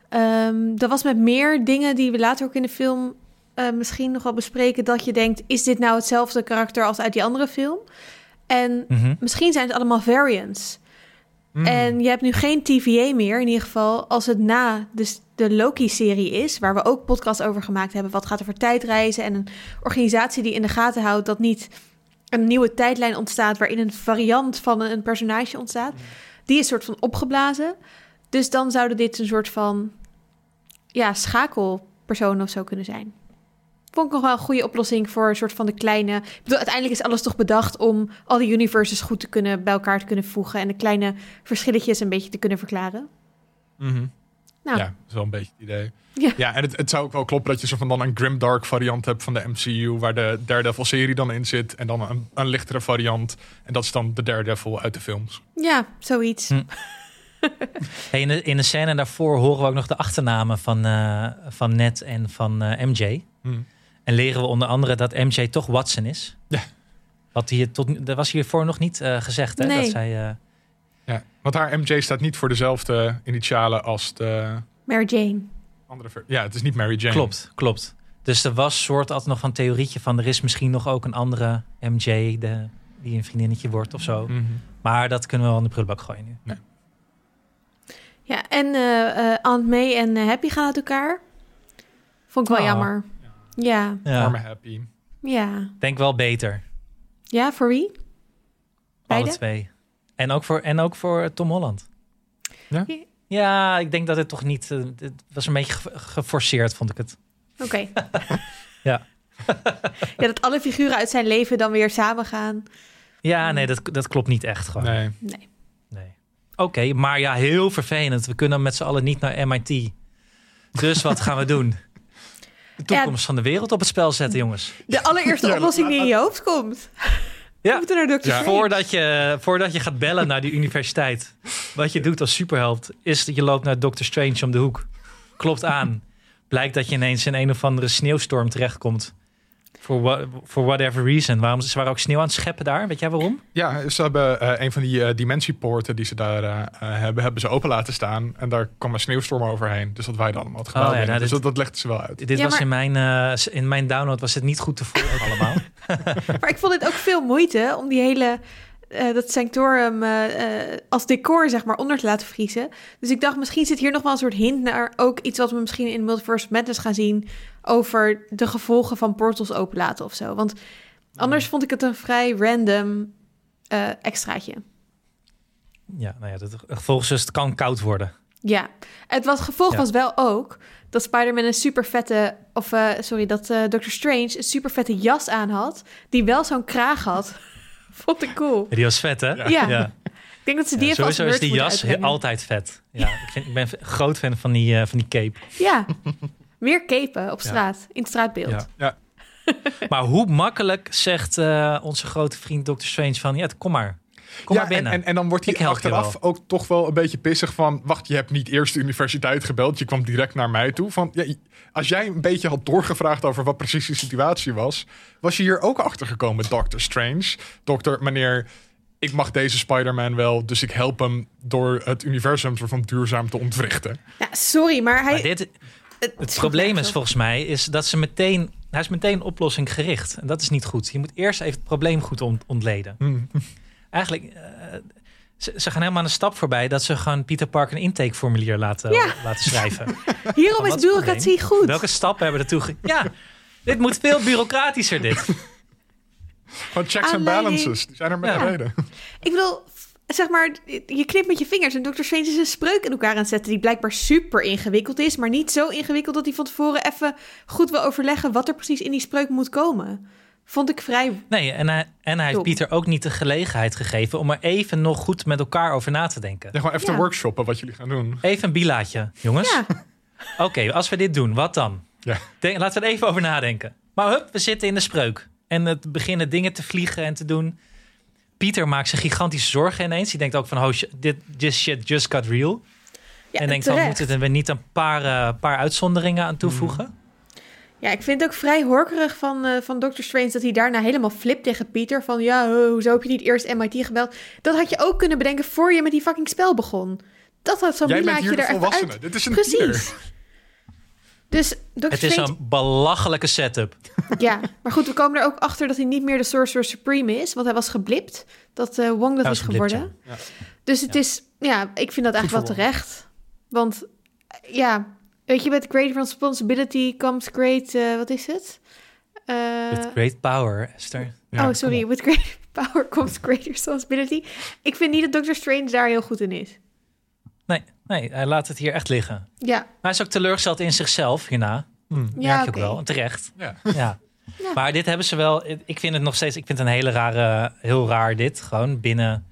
S2: ehm, dat was met meer dingen die we later ook in de film eh, misschien nog wel bespreken. Dat je denkt, is dit nou hetzelfde karakter als uit die andere film? En
S1: Mhm.
S2: misschien zijn het allemaal variants.
S3: Mm.
S2: En je hebt nu geen TVA meer, in ieder geval als het na de, s- de Loki-serie is, waar we ook podcast over gemaakt hebben. Wat gaat er voor tijdreizen? En een organisatie die in de gaten houdt dat niet een nieuwe tijdlijn ontstaat waarin een variant van een personage ontstaat. Die is soort van opgeblazen. Dus dan zouden dit een soort van ja, schakelpersoon of zo kunnen zijn. Vond ik nog wel een goede oplossing voor een soort van de kleine... Ik bedoel, uiteindelijk is alles toch bedacht om al die universes goed te kunnen, bij elkaar te kunnen voegen... en de kleine verschilletjes een beetje te kunnen verklaren.
S3: Mhm.
S2: Nou.
S3: Ja, dat is wel een beetje het idee.
S2: Ja.
S3: Ja, en het, het zou ook wel kloppen dat je zo van dan een grimdark variant hebt van de MCU, waar de Daredevil-serie dan in zit, en dan een, een lichtere variant, en dat is dan de Daredevil uit de films.
S2: Ja, zoiets.
S1: Hm. Hey, in, de, in de scène daarvoor horen we ook nog de achternamen van, eh, van Ned en van eh, MJ.
S3: Hmm.
S1: En leren we onder andere dat MJ toch Watson is.
S3: Ja.
S1: Wat hier tot, nu- dat was hiervoor nog niet eh, gezegd, hè?
S2: Nee.
S1: Dat zij, eh,
S3: Ja, want haar MJ staat niet voor dezelfde initialen als de
S2: Mary Jane.
S3: andere. ver- Ja, het is niet Mary Jane.
S1: Klopt, klopt. Dus er was soort altijd nog van theorietje van... er is misschien nog ook een andere MJ de, die een vriendinnetje wordt of zo.
S3: Mhm.
S1: Maar dat kunnen we wel in de prullenbak gooien nu.
S2: Ja, en eh, eh, Aunt May en eh, Happy gaan uit elkaar. Vond ik wel
S1: Ah.
S2: jammer. Ja,
S3: Arme
S1: Ja,
S3: Happy.
S2: ja.
S1: denk wel beter.
S2: Ja, voor wie? Beide?
S1: Alle twee. En ook voor, en ook voor Tom Holland.
S3: Ja?
S1: Ja, ik denk dat het toch niet... eh, het was een beetje ge- geforceerd, vond ik het.
S2: Oké.
S1: Ja.
S2: ja, dat alle figuren uit zijn leven dan weer samen gaan. Hm.
S1: Ja, nee, dat, dat klopt niet echt gewoon.
S3: Nee.
S1: Nee. Oké, maar ja, heel vervelend. We kunnen met z'n allen niet naar MIT. Dus wat gaan we doen? De toekomst van de wereld op het spel zetten, jongens.
S2: De allereerste
S3: Ja,
S2: oplossing die in je hoofd komt.
S1: Ja.
S2: We moeten naar Dr.
S3: Ja.
S2: Strange.
S1: Dus Voordat je, voordat je gaat bellen naar die universiteit, wat je doet als superheld, is dat je loopt naar Doctor Strange om de hoek. Klopt aan. Blijkt dat je ineens in een of andere sneeuwstorm terechtkomt. Voor wha- voor whatever reason. Waarom, ze waren ook sneeuw aan het scheppen daar. Weet jij waarom?
S3: Ja, ze hebben eh, een van die eh, dimensiepoorten die ze daar eh, eh, hebben, hebben ze open laten staan. En daar kwam een sneeuwstorm overheen. Dus dat wij dan allemaal het gebouw
S1: Oh, ja,
S3: binnen.
S1: nou,
S3: Dus
S1: dit-
S3: dat, dat legt ze wel uit.
S1: Dit
S2: Ja,
S1: was
S2: maar-
S1: in, mijn, eh, in mijn download was het niet goed te volgen allemaal.
S2: Maar ik vond het ook veel moeite om die hele... eh, dat sanctorum eh, eh, als decor, zeg maar, onder te laten vriezen. Dus ik dacht, misschien zit hier nog wel een soort hint naar... ook iets wat we misschien in Multiverse of Madness gaan zien... over de gevolgen van portals openlaten of zo. Want anders vond ik het een vrij random eh, extraatje.
S1: Ja, nou ja, dat, volgens is het kan koud worden.
S2: Ja, het was, gevolg
S1: Ja.
S2: was wel ook dat Spider-Man een super vette, of eh, sorry, dat eh Doctor Strange een super vette jas aan had, die wel zo'n kraag had. Vond ik cool.
S1: Ja, die was vet, hè?
S3: Ja.
S2: Ja. Ik denk dat ze die
S1: Ja,
S2: even als
S1: sowieso is
S2: merch
S1: die
S2: moeten
S1: jas he-
S2: uitbrengen.
S1: altijd vet. Ja, ik, vind, ik ben een groot fan van die, eh, van die cape.
S2: Ja, meer capen op
S1: Ja.
S2: straat, in het straatbeeld.
S1: Ja.
S3: Ja.
S1: Maar hoe makkelijk zegt eh, onze grote vriend Dr. Strange van... ja, kom maar. Kom
S3: ja,
S1: maar binnen.
S3: En, en, en dan wordt
S1: Ik
S3: hij
S1: help je
S3: achteraf
S1: wel.
S3: ook toch wel een beetje pissig van... wacht, je hebt niet eerst de universiteit gebeld. Je kwam direct naar mij toe. Van, ja, als jij een beetje had doorgevraagd over wat precies de situatie was... was je hier ook achtergekomen, Doctor Strange. Dokter, meneer, ik mag deze Spider-Man wel... dus ik help hem door het universum soort van duurzaam te ontwrichten.
S2: Ja, sorry, maar hij...
S1: Maar dit,
S2: het,
S1: het probleem is volgens mij is dat ze meteen... Hij is meteen oplossing gericht. En dat is niet goed. Je moet eerst even het probleem goed ont- ontleden.
S3: Hmm.
S1: Eigenlijk, eh, ze, ze gaan helemaal een stap voorbij... dat ze gewoon Peter Parker een intakeformulier laten,
S2: Ja.
S1: laten schrijven.
S2: Hierom
S1: Wat
S2: is
S1: is het
S2: bureaucratie goed.
S1: Welke stappen hebben ertoe... Ge- ja, dit moet veel bureaucratischer, dit.
S3: Gewoon checks en
S2: Aanleiding.
S3: balances. Die zijn er met
S1: Ja.
S3: een reden.
S2: Ik bedoel, f- zeg maar, je knipt met je vingers en Dr. Strange is een spreuk in elkaar aan het zetten die blijkbaar super ingewikkeld is, maar niet zo ingewikkeld dat hij van tevoren even goed wil overleggen wat er precies in die spreuk moet komen. Vond ik vrij.
S1: Nee, en hij, en hij heeft
S2: Dom.
S1: Pieter ook niet de gelegenheid gegeven... om er even nog goed met elkaar over na te denken.
S3: Ja, gewoon even
S2: Ja.
S3: te workshoppen wat jullie gaan doen.
S1: Even een bilaatje, jongens.
S2: Ja,
S1: Oké, als we dit doen, wat dan?
S3: Ja.
S1: Denk, laten we er even over nadenken. Maar hup, we zitten in de spreuk. En het beginnen dingen te vliegen en te doen. Pieter maakt zich gigantische zorgen ineens. Die denkt ook van, oh, sh- dit this shit just got real.
S2: ja,
S1: en denkt, dan
S2: terecht.
S1: moeten we niet een paar, eh, paar uitzonderingen aan toevoegen.
S2: Mm. Ja, ik vind het ook vrij horkerig van, eh, van Dr. Strange dat hij daarna helemaal flipt tegen Pieter. Van ja, eh, hoezo heb je niet eerst MIT gebeld? Dat had je ook kunnen bedenken voor je met die fucking spel begon. Dat had zo'n
S3: Jij bent
S2: milaatje
S3: hier de
S2: er even
S3: volwassene.
S2: uit.
S3: Dit is een tiener.
S2: Precies. Dus Dr.
S1: Het is
S2: Strange
S1: een belachelijke setup.
S2: Ja, maar goed, we komen er ook achter dat hij niet meer de Sorcerer Supreme is, want hij was geblipt. Dat eh, Wong dat
S1: Hij was
S2: is
S1: geblipt,
S2: geworden.
S3: ja. Ja.
S2: Dus het is, ja, ik vind dat eigenlijk wel
S3: voor
S2: terecht. Want eh, ja, weet je, met great responsibility comes great, eh, wat is het? Eh,
S1: With great power, Esther.
S3: Ja,
S2: oh, sorry, with great power comes great responsibility. Ik vind niet dat Doctor Strange daar heel goed in is.
S1: Nee, nee, hij laat het hier echt liggen. Maar
S2: Ja,
S1: hij is ook teleurgesteld in zichzelf hierna. Ja,
S2: ja
S1: Merk je
S2: oké.
S1: ook wel. En terecht.
S3: Ja.
S1: Ja.
S2: Ja.
S1: Maar dit hebben ze wel. Ik vind het nog steeds. Ik vind het een hele rare. Heel raar dit. Gewoon binnen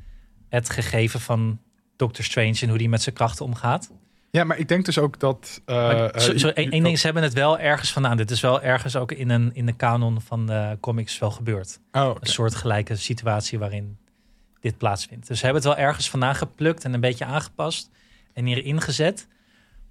S1: het gegeven van Doctor Strange en hoe die met zijn krachten omgaat.
S3: Ja, maar ik denk dus ook dat... eh,
S1: Maar
S3: eh,
S1: zo- zo,
S3: je-
S1: één
S3: je-
S1: één ding, ze hebben het wel ergens vandaan. Dit is wel ergens ook in, een, in de kanon van de comics wel gebeurd.
S3: Oh, oké.
S1: Een soortgelijke situatie waarin dit plaatsvindt. Dus ze hebben het wel ergens vandaan geplukt en een beetje aangepast en hierin gezet.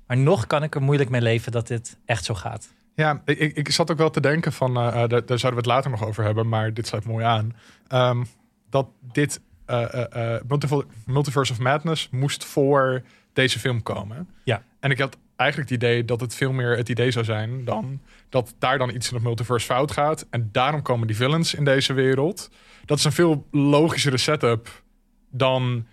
S1: Maar nog kan ik er moeilijk mee leven dat dit echt zo gaat.
S3: Ja, ik, ik, ik zat ook wel te denken van, eh, eh, daar, daar zouden we het later nog over hebben, maar dit sluit mooi aan. Ehm, dat dit eh, eh, eh, Multivel- Multiverse of Madness moest voor deze film komen.
S1: Ja.
S3: En ik had eigenlijk het idee dat het veel meer het idee zou zijn dan dat daar dan iets in het multiverse fout gaat. En daarom komen die villains in deze wereld. Dat is een veel logischere setup dan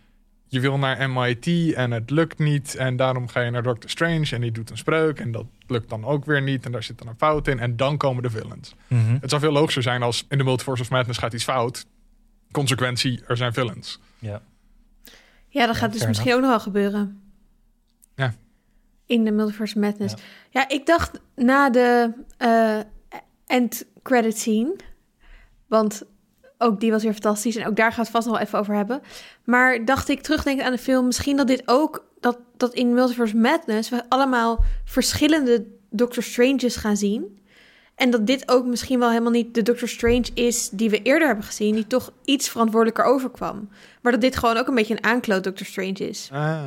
S3: je wil naar MIT en het lukt niet. En daarom ga je naar Doctor Strange en die doet een spreuk. En dat lukt dan ook weer niet. En daar zit dan een fout in. En dan komen de villains. Het zou veel logischer zijn als in de Multiverse of Madness gaat iets fout. Consequentie, er zijn villains.
S1: Ja.
S2: Ja, dat
S1: Ja,
S2: gaat dus
S1: fair
S2: misschien ook nog wel gebeuren.
S3: Ja.
S2: In de Multiverse Madness.
S1: Ja.
S2: Ja, ik dacht na de eh, end credit scene, want ook die was weer fantastisch en ook daar gaan we het vast nog wel even over hebben. Maar dacht ik terugdenken aan de film, misschien dat dit ook, dat, dat in Multiverse Madness we allemaal verschillende Doctor Strange's gaan zien. En dat dit ook misschien wel helemaal niet de Doctor Strange is die we eerder hebben gezien, die toch iets verantwoordelijker overkwam. Maar dat dit gewoon ook een beetje een aankloot Doctor Strange is.
S1: Ah.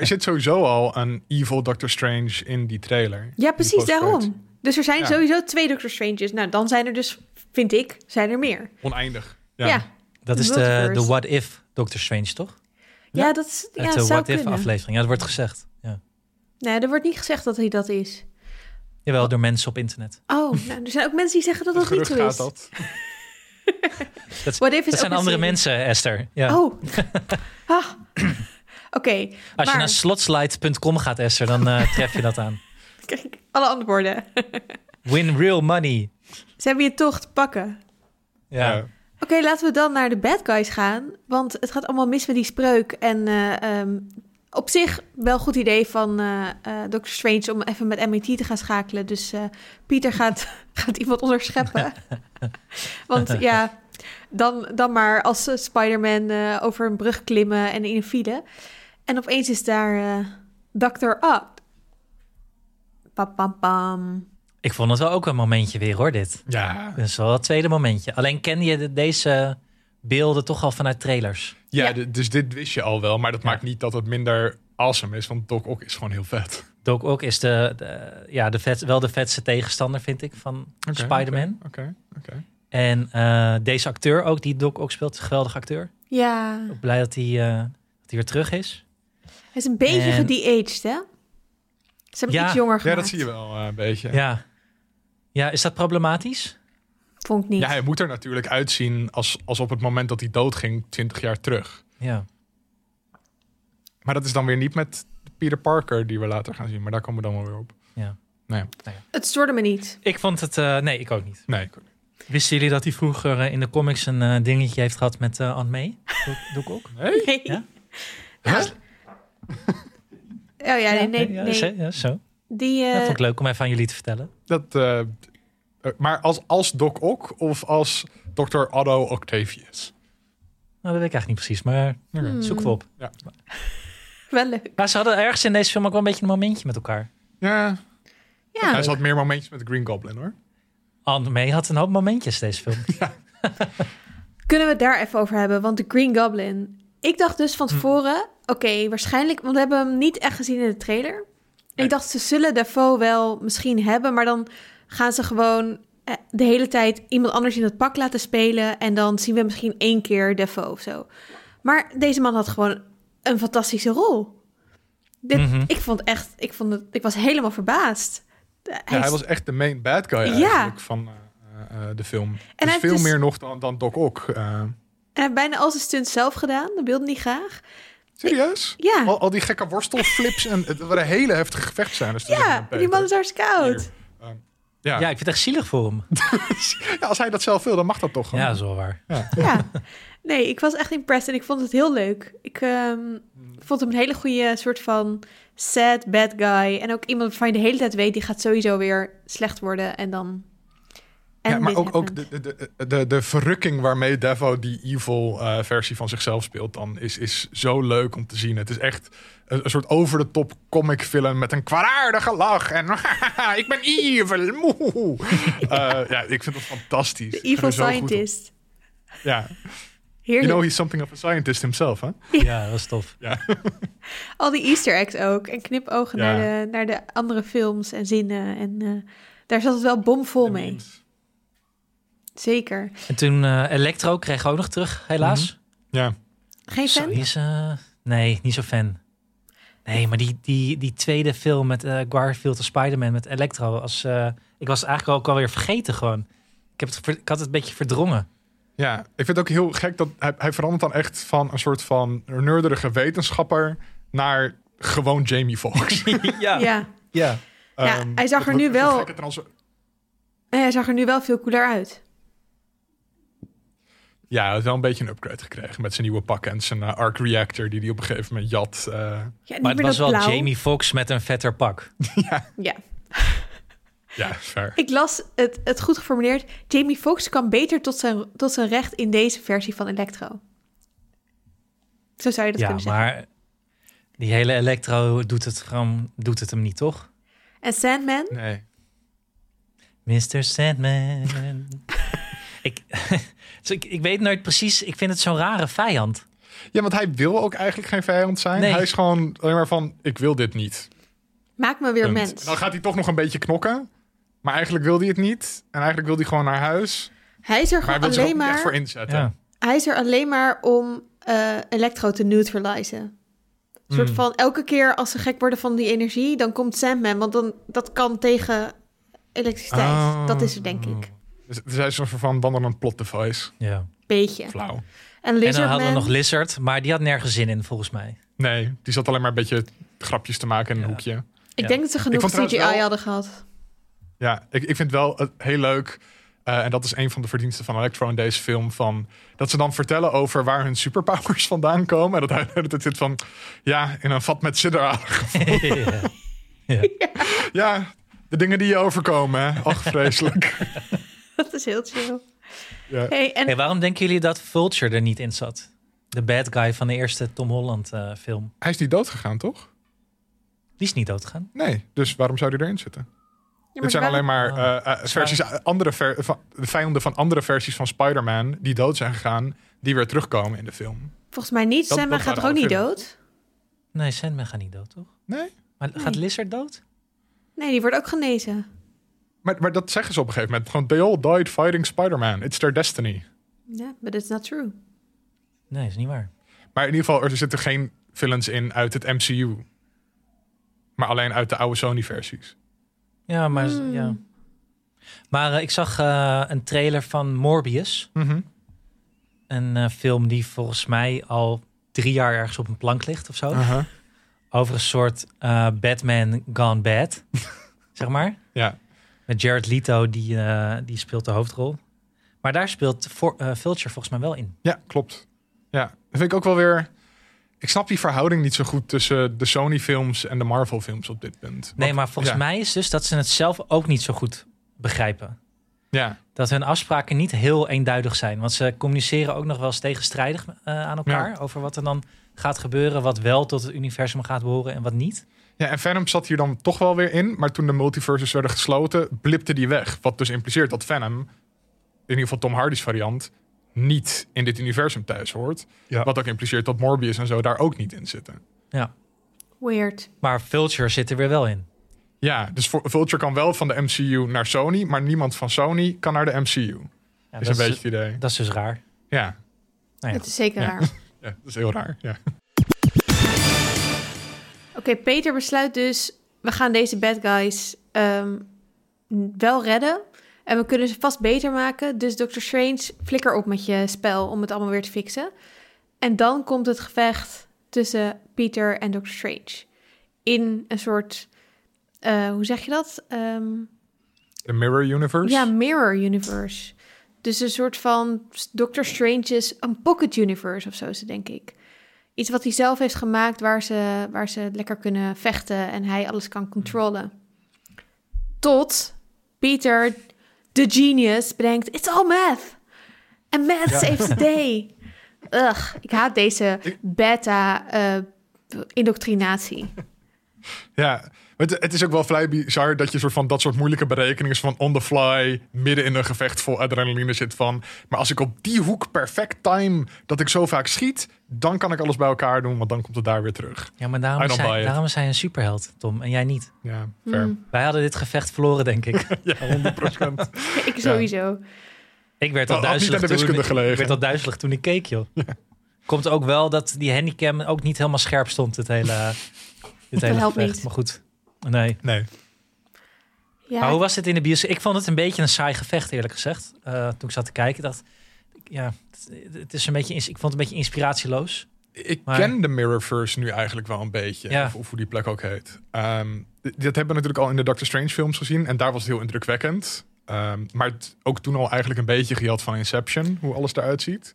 S3: er zit sowieso al een evil Doctor Strange in die trailer.
S2: Ja,
S3: Die
S2: precies
S3: post-credits.
S2: daarom. Dus er zijn
S3: Ja.
S2: sowieso twee Doctor Strange's. Nou, dan zijn er dus, vind ik, zijn er meer.
S3: Oneindig.
S2: Ja, ja.
S1: Dat
S2: De
S1: is de, de
S2: multiverse.
S1: What If Doctor Strange, toch?
S2: dat is, ja,
S1: Het eh,
S2: zou
S1: What If
S2: kunnen.
S1: aflevering. Ja, dat wordt gezegd. Ja.
S2: Nee, er wordt niet gezegd dat hij dat is.
S1: Jawel, door mensen op internet.
S2: Oh, nou, er zijn ook mensen die zeggen dat dat,
S3: Het
S2: niet
S3: gerucht
S2: zo
S3: gaat
S2: is.
S3: dat.
S2: What If is
S1: Dat
S2: ook
S1: zijn
S2: een
S1: andere
S2: serie.
S1: mensen, Esther. Ja.
S2: Oh. Ah. Oké,
S1: Als je
S2: maar-
S1: naar slotslight.com gaat, Esther, dan eh, tref je dat aan.
S2: kijk, alle antwoorden.
S1: Win real money.
S2: Ze hebben je toch te pakken.
S1: Ja.
S3: Ja.
S2: Oké, laten we dan naar de bad guys gaan. Want het gaat allemaal mis met die spreuk. En eh, ehm, op zich wel een goed idee van eh Dr. Strange om even met MIT te gaan schakelen. Dus eh, Pieter gaat, gaat iemand onderscheppen. want ja, dan, dan maar als eh, Spider-Man eh, over een brug klimmen en in een file. En opeens is daar eh Dr. Odd. Pam, pam, pam.
S1: Ik vond het wel ook een momentje weer, hoor, dit.
S3: ja.
S1: Dat is wel het tweede momentje. Alleen ken je de- deze beelden toch al vanuit trailers.
S3: Ja,
S2: Ja.
S3: d- dus dit wist je al wel, maar dat
S1: Ja.
S3: maakt niet dat het minder awesome is, want Doc Ock is gewoon heel vet.
S1: Doc Ock is de, de- ja, de vet, wel de vetste tegenstander, vind ik, van
S3: Oké,
S1: Spider-Man.
S3: Oké, oké.
S1: En eh, deze acteur ook, die Doc Ock speelt, is een geweldig acteur.
S2: Ja,
S1: Ik ben blij dat hij, eh, dat hij weer terug is.
S2: hij is een beetje
S1: En-
S2: gedeaged, hè? Ze hebben
S1: Ja.
S2: hem iets jonger
S3: Ja,
S2: gemaakt.
S3: dat zie je wel eh, een beetje.
S1: Ja. ja. is dat problematisch?
S2: Vond ik niet.
S3: Ja, hij moet er natuurlijk uitzien als, als op het moment dat hij doodging, 20 jaar terug.
S1: Ja.
S3: Maar dat is dan weer niet met Peter Parker die we later gaan zien, maar daar komen we dan wel weer op.
S2: Het stoorde me niet.
S1: Ik vond het... eh, nee, ik ook niet.
S3: Nee,
S1: Wisten jullie dat hij vroeger eh, in de comics een eh, dingetje heeft gehad met eh Aunt May? Doc- Doc Ock?
S3: nee?
S2: Nee.
S1: Ja?
S3: Huh?
S2: Oh ja, nee, nee.
S1: ja,
S2: nee.
S1: zo- ja, zo.
S2: Die, eh,
S1: Dat vond ik leuk om even aan jullie te vertellen.
S3: Dat, eh, eh, maar als, als Doc Ock of als Dr. Otto Octavius?
S1: Nou, dat weet ik eigenlijk niet precies, maar
S3: Oké.
S2: Hmm.
S1: zoek we op.
S2: wel leuk.
S1: Maar ze hadden ergens in deze film ook wel een beetje een momentje met elkaar.
S3: Ja,
S2: Ja,
S3: hij zat meer momentjes met Green Goblin hoor.
S1: Aunt May had een hoop momentjes deze film.
S2: Kunnen we het daar even over hebben? Want de Green Goblin. Ik dacht dus
S3: Hm.
S2: van tevoren, oké, waarschijnlijk, want we hebben hem niet echt gezien in de trailer.
S3: Nee.
S2: Ik dacht, ze zullen Defoe wel misschien hebben, maar dan gaan ze gewoon eh, de hele tijd iemand anders in het pak laten spelen. En dan zien we misschien één keer Defoe of zo. Maar deze man had gewoon een fantastische rol. Dit,
S1: Mhm.
S2: Ik vond echt, ik, vond het, ik was helemaal verbaasd. Hij
S3: Ja, hij
S2: is-
S3: was echt de main bad guy
S2: Ja.
S3: eigenlijk van eh, eh, de film.
S2: hij
S3: dus
S2: heeft
S3: veel
S2: dus-
S3: meer nog dan, dan Doc Ock. eh.
S2: en hij heeft bijna al zijn stunts zelf gedaan, dat wilde hij graag.
S3: serieus?
S2: Ja,
S3: Al, al die gekke worstelflips en het waren hele heftige gevechtscènes. tussen hem
S2: ja die
S3: en Peter.
S2: man is hartstikke oud.
S3: Hier. Ehm, Ja.
S1: Ja,
S3: Ja.
S1: ik vind het echt zielig voor hem.
S3: als hij dat zelf wil, dan mag dat toch gewoon.
S1: Ja, zo waar.
S2: Ja, nee, ik was echt impressed en ik vond het heel leuk. Ik ehm, vond hem een hele goede soort van sad bad guy. En ook iemand waarvan je de hele tijd weet, die gaat sowieso weer slecht worden. En dan... En
S3: ja, maar
S2: dit
S3: ook, ook
S2: happened.
S3: de, de, de, de, de verrukking waarmee Devo die evil eh, versie van zichzelf speelt, dan is, is zo leuk om te zien. Het is echt een, een soort over de top comic film met een kwaadaardige lach. En ik ben evil. moe. Eh, ja, ik vind dat fantastisch.
S2: De
S3: Ik vind
S2: evil
S3: er zo goed op.
S2: scientist.
S3: Ja. You
S2: Heerlijk.
S3: know he's something of a scientist himself, hè?
S1: Ja, dat was tof.
S2: Al die easter eggs ook. En knipogen
S3: Ja.
S2: naar, de, naar de andere films en zinnen. En eh, daar zat het wel bomvol mee. Zeker.
S1: En toen eh Electro kreeg ik ook nog terug, helaas.
S3: Ja.
S2: Geen
S1: Zo,
S2: Mm-hmm.
S1: die
S2: fan?
S1: is, eh, nee, niet zo fan. Nee, maar die, die, die tweede film met eh, Garfield en Spider-Man met Electro. Als, eh, ik was het eigenlijk ook alweer vergeten gewoon. Ik, heb het, ver- ik had het een beetje verdrongen.
S3: Ja, ik vind het ook heel gek dat hij, hij verandert dan echt van een soort van nerderige wetenschapper naar gewoon Jamie Foxx.
S1: ja.
S2: Ja.
S1: ja.
S2: Ja,
S3: Ehm,
S2: hij zag
S3: dat
S2: er
S3: wordt
S2: nu
S3: een
S2: wel-
S3: gekke trans-
S2: En hij zag er nu wel veel cooler uit.
S3: Ja, hij heeft wel een beetje een upgrade gekregen met zijn nieuwe pak en zijn eh, arc reactor die hij op een gegeven moment jat. eh,
S2: Ja, niet
S1: Maar het
S2: meer
S1: was
S2: dat
S1: wel
S2: blauw.
S1: Jamie Foxx met een vetter pak.
S2: Ja.
S3: ja, ver.
S2: Ik las het, het goed geformuleerd. Jamie Foxx kwam beter tot zijn, tot zijn recht in deze versie van Electro. Zo zou je dat
S1: Ja,
S2: kunnen zeggen.
S1: maar die hele Electro doet het, gewoon, doet het hem niet, toch?
S2: En Sandman?
S3: Nee.
S1: Mr. Sandman. ik, dus ik, ik weet nooit precies. Ik vind het zo'n rare vijand.
S3: Ja, want hij wil ook eigenlijk geen vijand zijn.
S1: Nee.
S3: Hij is gewoon alleen maar van, ik wil dit niet.
S2: Maak me weer
S3: Punt.
S2: mens.
S3: Dan gaat hij toch nog een beetje knokken. Maar eigenlijk wil hij het niet. En eigenlijk wil hij gewoon naar huis.
S2: Hij is er
S3: Maar hij
S2: gewoon
S3: wil zich ook
S2: alleen
S3: niet echt voor
S2: maar...
S3: inzetten.
S1: Ja.
S2: Hij is er alleen maar om eh, Electro te neutralizen. Een soort van elke keer als ze gek worden van die energie, dan komt Sandman. Want dan, dat kan tegen elektriciteit.
S3: Oh.
S2: Dat is het, denk ik.
S3: Dus, dus hij is een soort van wandelend plot device.
S1: ja.
S2: Beetje.
S3: Flauw.
S2: En
S1: En dan
S2: Lizardman.
S1: hadden we nog Lizard, maar die had nergens zin in, volgens mij.
S3: Nee, die zat alleen maar een beetje grapjes te maken in een
S1: Ja.
S3: hoekje.
S2: ik
S1: ja.
S2: denk dat ze genoeg
S3: vond
S2: CGI
S3: trouwens wel-
S2: hadden gehad.
S3: Ja, ik, ik vind wel eh, heel leuk. eh, en dat is een van de verdiensten van Electro in deze film. Van, dat ze dan vertellen over waar hun superpowers vandaan komen. En dat hij de hele tijd zit van... Ja, in een vat met sidderaar.
S1: ja.
S3: Ja, de dingen die je overkomen. hè. Ach, vreselijk.
S2: Dat is heel chill.
S3: Ja.
S2: Hey, en
S1: Hey, waarom denken jullie dat Vulture er niet in zat? De bad guy van de eerste Tom Holland eh, film.
S3: Hij is niet doodgegaan, toch?
S1: Die is niet doodgegaan.
S3: Nee, dus waarom zou hij erin zitten?
S2: maar
S3: Dit zijn
S2: er waren-
S3: alleen maar
S1: Ah.
S3: eh, eh, versies, andere ver- van- de vijanden van andere versies van Spider-Man die dood zijn gegaan, die weer terugkomen in de film.
S2: Volgens mij niet.
S3: Dat-
S2: Sandman
S3: dat
S2: gaat toch ook
S3: waren
S2: niet
S3: alle
S2: dood?
S1: Nee, Sandman gaat niet dood, toch?
S3: Nee.
S1: Maar
S2: Nee.
S1: gaat Lizard dood?
S2: Nee, die wordt ook genezen.
S3: Maar, maar dat zeggen ze op een gegeven moment. Gewoon, they all died fighting Spider-Man. It's their destiny.
S2: Ja, but it's not true.
S1: Nee, is niet waar.
S3: Maar in ieder geval, er zitten geen villains in uit het MCU. Maar alleen uit de oude Sony-versies.
S1: Ja, maar,
S2: Hmm.
S1: ja. maar eh, ik zag eh, een trailer van Morbius. Een eh, film die volgens mij al drie jaar ergens op een plank ligt of zo.
S3: Aha.
S1: Over een soort eh, Batman gone bad, zeg maar.
S3: Ja.
S1: Met Jared Leto, die, eh, die speelt de hoofdrol. Maar daar speelt Vo- eh, Vulture volgens mij wel in.
S3: ja, klopt. Ja, dat vind ik ook wel weer... Ik snap die verhouding niet zo goed tussen de Sony-films en de Marvel-films op dit punt.
S1: Nee,
S3: Want-
S1: maar volgens
S3: ja.
S1: mij is dus dat ze het zelf ook niet zo goed begrijpen.
S3: Ja,
S1: Dat hun afspraken niet heel eenduidig zijn. Want ze communiceren ook nog wel eens tegenstrijdig eh, aan elkaar. Over wat er dan gaat gebeuren. Wat wel tot het universum gaat behoren en wat niet.
S3: Ja, en Venom zat hier dan toch wel weer in. Maar toen de multiverses werden gesloten, blipte die weg. Wat dus impliceert dat Venom, in ieder geval Tom Hardy's variant, niet in dit universum thuis hoort.
S1: Ja.
S3: Wat ook impliceert dat Morbius en zo daar ook niet in zitten.
S2: Weird.
S1: Maar Vulture zit er weer wel in.
S3: Ja, dus Vo- Vulture kan wel van de MCU naar Sony, maar niemand van Sony kan naar de MCU.
S1: Ja,
S3: is
S1: dat,
S3: een
S1: is,
S3: beetje het idee.
S1: dat is dus raar.
S3: Ja,
S1: Nou ja,
S2: Dat is zeker
S3: Ja.
S2: raar.
S3: ja, dat is heel raar. Ja.
S2: Oké, Peter besluit dus... we gaan deze bad guys ehm, wel redden... en we kunnen ze vast beter maken... dus Dr. Strange, flikker op met je spel... om het allemaal weer te fixen. En dan komt het gevecht tussen Peter en Dr. Strange. In een soort... eh, hoe zeg je dat? Ehm,
S3: De Mirror Universe.
S2: Ja, Mirror Universe. Dus een soort van Doctor Strange's een pocket universe of zo is het, denk ik. Iets wat hij zelf heeft gemaakt waar ze, waar ze lekker kunnen vechten en hij alles kan controleren. Tot Peter, de genius, bedenkt, it's all math. En math saves the day. Ugh, ik haat deze beta eh, indoctrinatie.
S3: Ja, het, het is ook wel vrij bizar dat je soort van dat soort moeilijke berekeningen van on the fly midden in een gevecht vol adrenaline zit van. Maar als ik op die hoek perfect time dat ik zo vaak schiet, dan kan ik alles bij elkaar doen, want dan komt het daar weer terug.
S1: ja maar
S3: I
S1: daarom
S3: don't
S1: is,
S3: buy
S1: hij,
S3: it.
S1: daarom is hij een superheld, Tom. En jij niet.
S3: Ja, fair.
S2: Mm.
S1: Wij hadden dit gevecht verloren, denk ik.
S2: Ik sowieso.
S1: ik werd
S3: Dat
S1: al
S3: had niet aan
S1: duizelig
S3: de wiskunde
S1: toen ik, ik werd
S3: gelegen.
S1: al duizelig toen ik keek, joh. Komt ook wel dat die handicam ook niet helemaal scherp stond, het hele, dit hele
S2: helpt
S1: gevecht.
S2: niet.
S1: Maar goed, nee.
S3: Nee.
S2: Ja,
S1: Maar hoe was het in de bioscoop? Ik vond het een beetje een saai gevecht, eerlijk gezegd. Eh, toen ik zat te kijken, dacht ik, ja, het, het is een beetje, ins- ik vond het een beetje inspiratieloos.
S3: Ik
S1: Maar-
S3: ken de Mirrorverse nu eigenlijk wel een beetje.
S1: Ja.
S3: Of, of hoe die plek ook heet. Ehm, d- dat hebben we natuurlijk al in de Doctor Strange films gezien. En daar was het heel indrukwekkend. Ehm, maar het, ook toen al eigenlijk een beetje gejat van Inception. Hoe alles eruit ziet.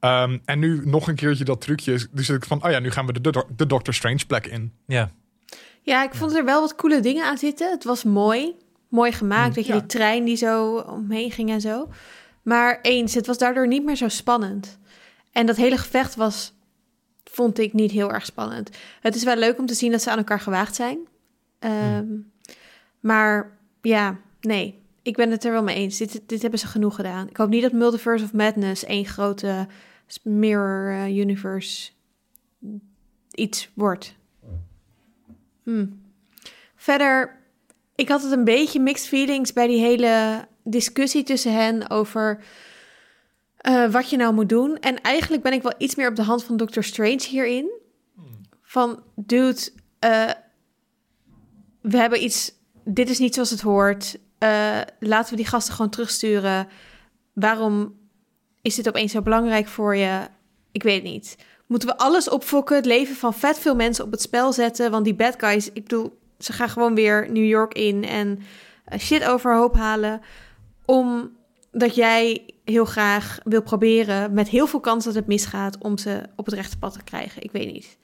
S3: Ehm, en nu nog een keertje dat trucje. is- Dus ik van, oh ja, nu gaan we de, do- de Doctor Strange plek in.
S1: Ja,
S2: Ja, ik vond er wel wat coole dingen aan zitten. Het was mooi. Mooi gemaakt. Weet je,
S3: ja.
S2: die trein die zo omheen ging en zo. Maar eens, het was daardoor niet meer zo spannend. En dat hele gevecht was, vond ik niet heel erg spannend. Het is wel leuk om te zien dat ze aan elkaar gewaagd zijn. Ehm, Maar ja, nee. Ik ben het er wel mee eens. Dit, dit hebben ze genoeg gedaan. Ik hoop niet dat Multiverse of Madness één grote mirror eh, universe iets wordt. Hmm. Verder, ik had het een beetje mixed feelings bij die hele discussie tussen hen over eh, wat je nou moet doen. En eigenlijk ben ik wel iets meer op de hand van Doctor Strange hierin. Van, dude, eh, we hebben iets, dit is niet zoals het hoort. Eh, laten we die gasten gewoon terugsturen. Waarom is dit opeens zo belangrijk voor je? Ik weet het niet. Moeten we alles opfokken, het leven van vet veel mensen op het spel zetten? Want die bad guys, ik bedoel, ze gaan gewoon weer New York in en eh, shit overhoop halen. Omdat jij heel graag wil proberen, met heel veel kans dat het misgaat, om ze op het rechte pad te krijgen. Ik weet niet.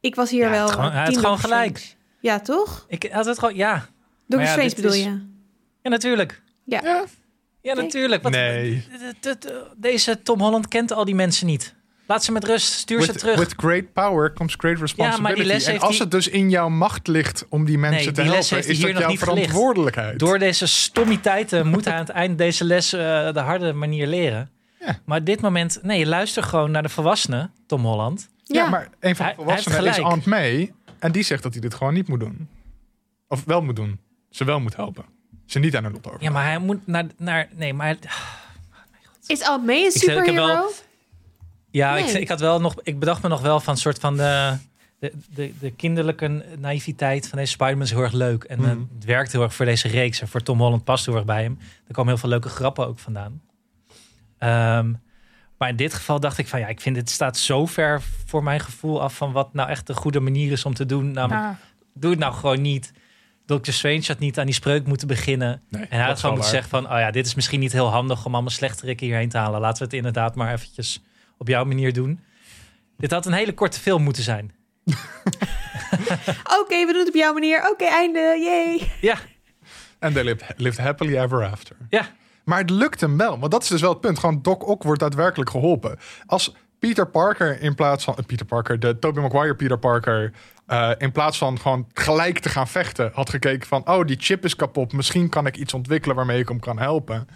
S2: Ik was hier
S1: Ja,
S2: wel.
S1: het gewoon- hij had
S2: team
S1: gewoon
S2: Dr.
S1: gelijk.
S2: Strange. Ja, toch?
S1: ik had het gewoon, ja,
S2: Doctor
S1: Maar ja,
S2: Strange
S1: dit
S2: bedoel
S1: is-
S2: je?
S1: ja natuurlijk.
S2: Ja.
S1: Ja, natuurlijk. Wat,
S3: Nee.
S1: d- d- d- Deze Tom Holland kent al die mensen niet. Laat ze met rust, stuur ze
S3: With,
S1: terug.
S3: with great power comes great
S1: Ja, maar
S3: responsibility.
S1: die les
S3: en
S1: heeft
S3: als
S1: die-
S3: het dus in jouw macht ligt om die mensen
S1: Nee,
S3: te
S1: die les
S3: helpen,
S1: heeft hij
S3: is
S1: hier
S3: dat
S1: nog
S3: jouw
S1: niet gelicht.
S3: verantwoordelijkheid.
S1: Door deze stommiteiten moet hij aan het eind deze les eh, de harde manier leren.
S3: Ja.
S1: Maar op dit moment, nee, luister gewoon naar de volwassenen, Tom Holland.
S3: Ja,
S2: Ja.
S3: maar een van
S1: Hij-
S3: de volwassenen
S1: hij heeft
S3: is
S1: gelijk.
S3: Aunt May. En die zegt dat hij dit gewoon niet moet doen. Of wel moet doen. Ze wel moet helpen. Ze niet aan hun lot over.
S1: Ja, maar hij moet naar, naar nee, maar
S2: Is Aunt May een
S1: Ik heb- ik heb
S2: superhero?
S1: wel- ja,
S2: Nee.
S1: ik, ik had wel nog, ik bedacht me nog wel van een soort van de, de, de, de kinderlijke naïviteit van deze Spider-Man is heel erg leuk. En eh,
S3: Mhm.
S1: het werkt heel erg voor deze reeks en voor Tom Holland past heel erg bij hem. Er komen heel veel leuke grappen ook vandaan. Ehm, maar in dit geval dacht ik van ja, ik vind dit staat zo ver voor mijn gevoel af van wat nou echt de goede manier is om te doen. Namelijk,
S3: Ja.
S1: doe het nou gewoon niet. Dr. Strange had niet aan die spreuk moeten beginnen.
S3: Nee,
S1: En hij
S3: dat
S1: had gewoon
S3: is wel
S1: moeten
S3: waar.
S1: zeggen van... oh ja, dit is misschien niet heel handig om allemaal slechterikken hierheen te halen. Laten we het inderdaad maar eventjes op jouw manier doen. Dit had een hele korte film moeten zijn.
S2: Oké, we doen het op jouw manier. Oké, einde. Yay.
S1: Ja,
S3: En they lived, lived happily ever after.
S1: ja.
S3: Maar het lukt hem wel. Want dat is dus wel het punt. Gewoon Doc Ock wordt daadwerkelijk geholpen. Als Peter Parker in plaats van... eh, Peter Parker, de Tobey Maguire Peter Parker... eh, in plaats van gewoon gelijk te gaan vechten... had gekeken van... oh, die chip is kapot. Misschien kan ik iets ontwikkelen waarmee ik hem kan helpen.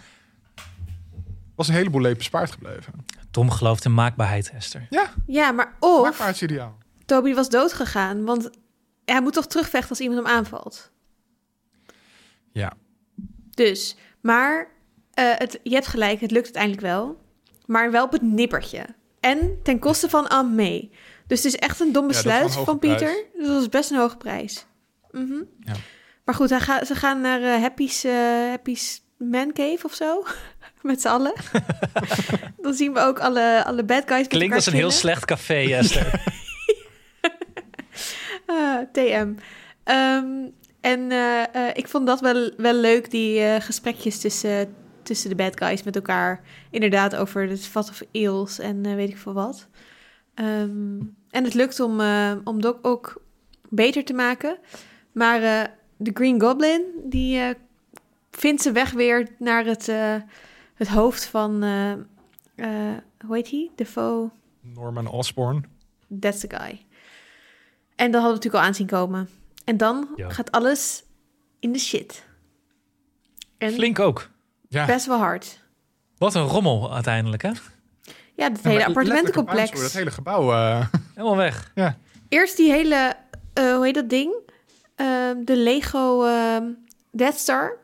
S3: Was een heleboel lepen spaard gebleven.
S1: Tom gelooft in maakbaarheid, Esther.
S3: Ja,
S2: Ja, maar
S3: maak
S2: of
S3: maar het ideaal.
S2: Toby was doodgegaan, want hij moet toch terugvechten als iemand hem aanvalt.
S3: Ja.
S2: Dus, maar eh, het, je hebt gelijk, het lukt uiteindelijk wel. Maar wel op het nippertje. En ten koste van Aunt May. Dus het is echt een dom
S3: dat is wel een
S2: besluit
S3: hoge
S2: van
S3: prijs.
S2: Pieter. Dus dat is best een hoge prijs. Mhm.
S3: Ja.
S2: Maar goed, hij ga- ze gaan naar eh, Happy's, eh, Happy's Man Cave of zo. Met z'n allen. Dan zien we ook alle, alle bad guys. met
S1: Klinkt
S2: elkaar
S1: als een heel
S2: chillen.
S1: slecht café, Esther.
S2: Ah, TM. Ehm, en eh, eh, ik vond dat wel, wel leuk, die eh, gesprekjes tussen, tussen de bad guys met elkaar. Inderdaad, over het vat of eels en eh, weet ik veel wat. Ehm, en het lukt om, eh, om Doc ook beter te maken. Maar eh, de Green Goblin, die eh, vindt zijn weg weer naar het, eh, het hoofd van... eh, eh, hoe heet hij? Defoe?
S3: Norman Osborn.
S2: That's the guy. En dat hadden we natuurlijk al aanzien komen. En dan
S1: Ja.
S2: gaat alles in de shit. En
S1: Flink ook.
S3: Ja.
S2: best wel hard. Wat
S1: Wat een rommel uiteindelijk, hè?
S2: Ja, dat
S3: Ja,
S2: hele
S3: maar letterlijk
S2: appartementencomplex.
S3: een puinhoop, Dat hele gebouw. eh,
S1: Helemaal weg.
S2: Eerst die hele, eh, hoe heet dat ding? Ehm, de Lego ehm, Death Star.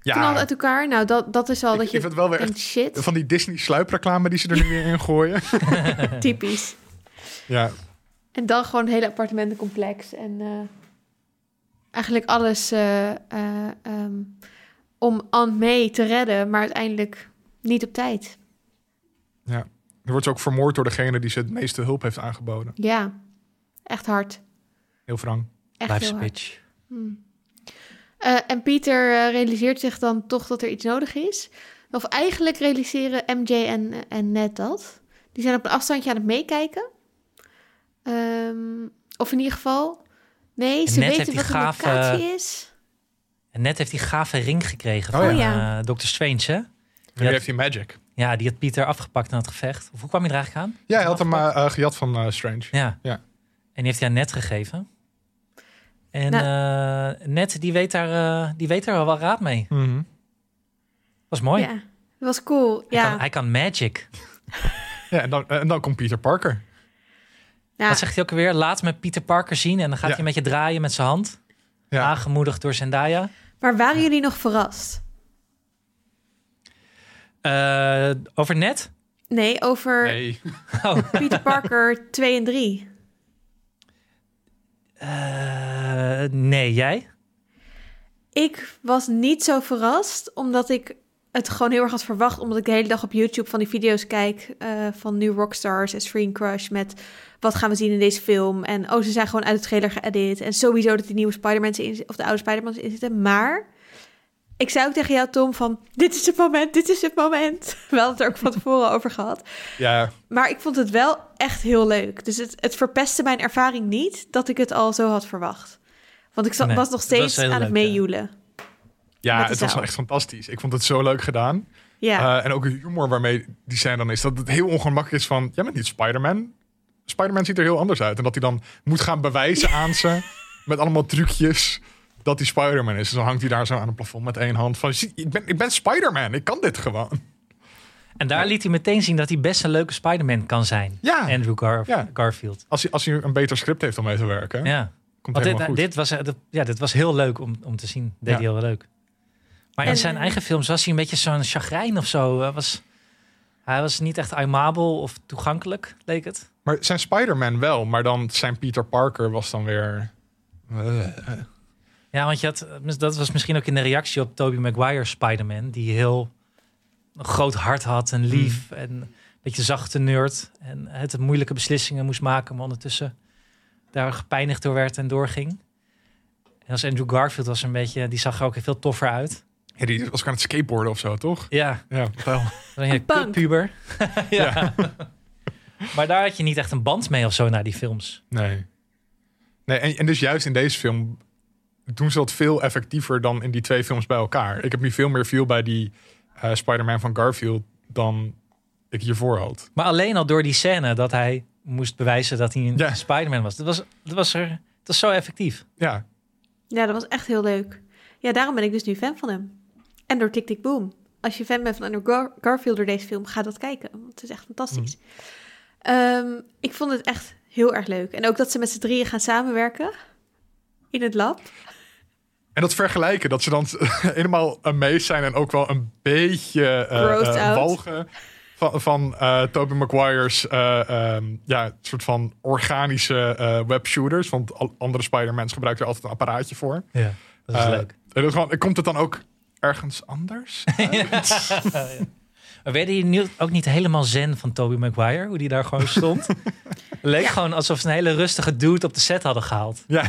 S3: ja,
S2: Knalt uit elkaar. Nou, dat, dat is al
S3: Ik-
S2: dat
S3: ik
S2: je
S3: vind het wel weer
S2: denkt, shit,
S3: van die Disney sluipreclame die ze er nu weer in gooien.
S2: typisch.
S3: ja,
S2: En dan gewoon het hele appartementencomplex. En eh, eigenlijk alles eh, eh, ehm, om Aunt May te redden, maar uiteindelijk niet op tijd.
S3: dan wordt ze ook vermoord door degene die ze het meeste hulp heeft aangeboden.
S2: Ja, echt hard.
S3: Heel wrang.
S2: Echt
S1: Live
S2: heel hard.
S1: speech.
S2: Hmm. Eh, en Pieter eh, realiseert zich dan toch dat er iets nodig is. Of eigenlijk realiseren MJ en, en Ned dat. Die zijn op een afstandje aan het meekijken. Ehm, of in ieder geval... Nee,
S1: En
S2: ze
S1: Ned heeft
S2: weten
S1: die
S2: wat de
S1: gave-
S2: locatie is.
S1: En net heeft die gave ring gekregen
S3: Oh
S1: van
S2: ja.
S1: eh, Dr. Strange, hè?
S3: En nu heeft hij magic.
S1: Ja, die had Pieter afgepakt na het gevecht. Of hoe kwam hij er eigenlijk aan?
S3: Ja, hij had hem eh, eh, gejat van eh, Strange.
S1: Ja.
S3: Ja.
S1: En die heeft hij aan Net gegeven. En
S2: Nou-
S1: eh, Net, die weet, daar, eh, die weet daar wel raad mee.
S3: Mhm.
S1: Dat is mooi.
S2: Ja, dat was cool.
S1: Hij,
S2: Ja.
S1: kan, hij kan magic.
S3: Ja, en dan, en dan komt Peter Parker.
S2: Ja.
S1: Wat zegt hij ook alweer? Laat me Pieter Parker zien. En dan gaat
S3: Ja.
S1: hij een beetje draaien met zijn hand.
S3: Ja.
S1: Aangemoedigd door Zendaya.
S2: Maar waren jullie nog verrast?
S1: Eh, over Net?
S2: Nee, over
S3: Nee.
S2: Peter Parker 2 en 3.
S1: Eh, nee, jij?
S2: Ik was niet zo verrast, omdat ik het gewoon heel erg had verwacht. Omdat ik de hele dag op YouTube van die video's kijk eh, van nu Rockstars en Screen Crush. Met wat gaan we zien in deze film. En oh, ze zijn gewoon uit de trailer geëdit. En sowieso dat die nieuwe Spider-Man in of de oude Spider-Man in zitten. Maar ik zei ook tegen jou, Tom, van dit is het moment, dit is het moment. We hadden het er ook van tevoren over gehad.
S3: Ja,
S2: Maar ik vond het wel echt heel leuk. Dus het, het verpestte mijn ervaring niet dat ik het al zo had verwacht. Want ik zat,
S1: Nee,
S2: was nog
S1: het was
S2: steeds
S1: heel
S2: aan het
S1: leuk, ja.
S2: meejoelen.
S3: ja
S2: Met de
S3: het was
S2: zaal.
S3: wel echt fantastisch. Ik vond het zo leuk gedaan.
S2: Ja.
S3: Eh, en ook de humor waarmee die scène dan is. Dat het heel ongemakkelijk is van, jij bent niet Spider-Man. Spider-Man ziet er heel anders uit. En dat hij dan moet gaan bewijzen aan ze, met allemaal trucjes, dat hij Spider-Man is. Dus dan hangt hij daar zo aan het plafond met één hand van, "Zie, ik ben, ik ben Spider-Man, ik kan dit gewoon.
S1: En daar liet hij meteen zien dat hij best een leuke Spider-Man kan zijn.
S3: Ja,
S1: Andrew Gar-
S3: Ja.
S1: Garfield.
S3: als hij, als hij een beter script heeft om mee te werken,
S1: Ja.
S3: komt
S1: Want dit,
S3: het helemaal goed.
S1: dit, was, eh, dat- ja, dit was heel leuk om, om te zien. Deed
S3: Ja.
S1: hij heel leuk. Maar
S2: En-
S1: in zijn eigen films was hij een beetje zo'n chagrijn of zo. Hij was, hij was niet echt aimabel of toegankelijk, leek het.
S3: Maar zijn Spider-Man wel, maar dan zijn Peter Parker was dan weer... Eh.
S1: Ja, want je had, dat was misschien ook in de reactie op Tobey Maguire's Spider-Man. Die heel een groot hart had
S3: Hmm.
S1: en lief en een beetje zachte nerd. En het moeilijke beslissingen moest maken, maar ondertussen daar gepijnigd door werd en doorging. En als Andrew Garfield was een beetje, die zag er ook veel toffer uit.
S3: Ja, die was ook aan het skateboarden of zo, toch?
S1: Ja,
S3: Ja, wel.
S1: Dan je
S2: Een punk.
S1: kutpuber. ja. maar daar had je niet echt een band mee of zo naar die films.
S3: Nee. nee en, en dus juist in deze film doen ze dat veel effectiever dan in die twee films bij elkaar. Ik heb nu veel meer feel bij die eh, Spider-Man van Garfield dan ik hiervoor had.
S1: Maar alleen al door die scène dat hij moest bewijzen dat hij een
S3: Ja.
S1: Spider-Man was. Dat was, dat was er. Dat was zo effectief.
S3: Ja,
S2: ja, dat was echt heel leuk. Ja, daarom ben ik dus nu fan van hem. En door Tick Tick Boom. Als je fan bent van Andrew Gar- Garfield door deze film, ga dat kijken. Want het is echt fantastisch.
S1: Mm.
S2: Ehm, ik vond het echt heel erg leuk. En ook dat ze met z'n drieën gaan samenwerken in het lab.
S3: en dat vergelijken, dat ze dan helemaal amazed zijn en ook wel een beetje eh
S2: Grossed
S3: eh,
S2: out.
S3: walgen van, van eh Tobey Maguire's eh, ehm, ja, soort van organische eh, webshooters. Want al- andere Spider-Mans gebruiken er altijd een apparaatje voor.
S1: Ja, dat is
S3: Eh,
S1: leuk.
S3: En dat gewoon- komt het dan ook ergens anders?
S1: Maar werd je nu ook niet helemaal zen van Tobey Maguire? Hoe die daar gewoon stond? Leek gewoon alsof ze een hele rustige dude op de set hadden gehaald.
S3: ja,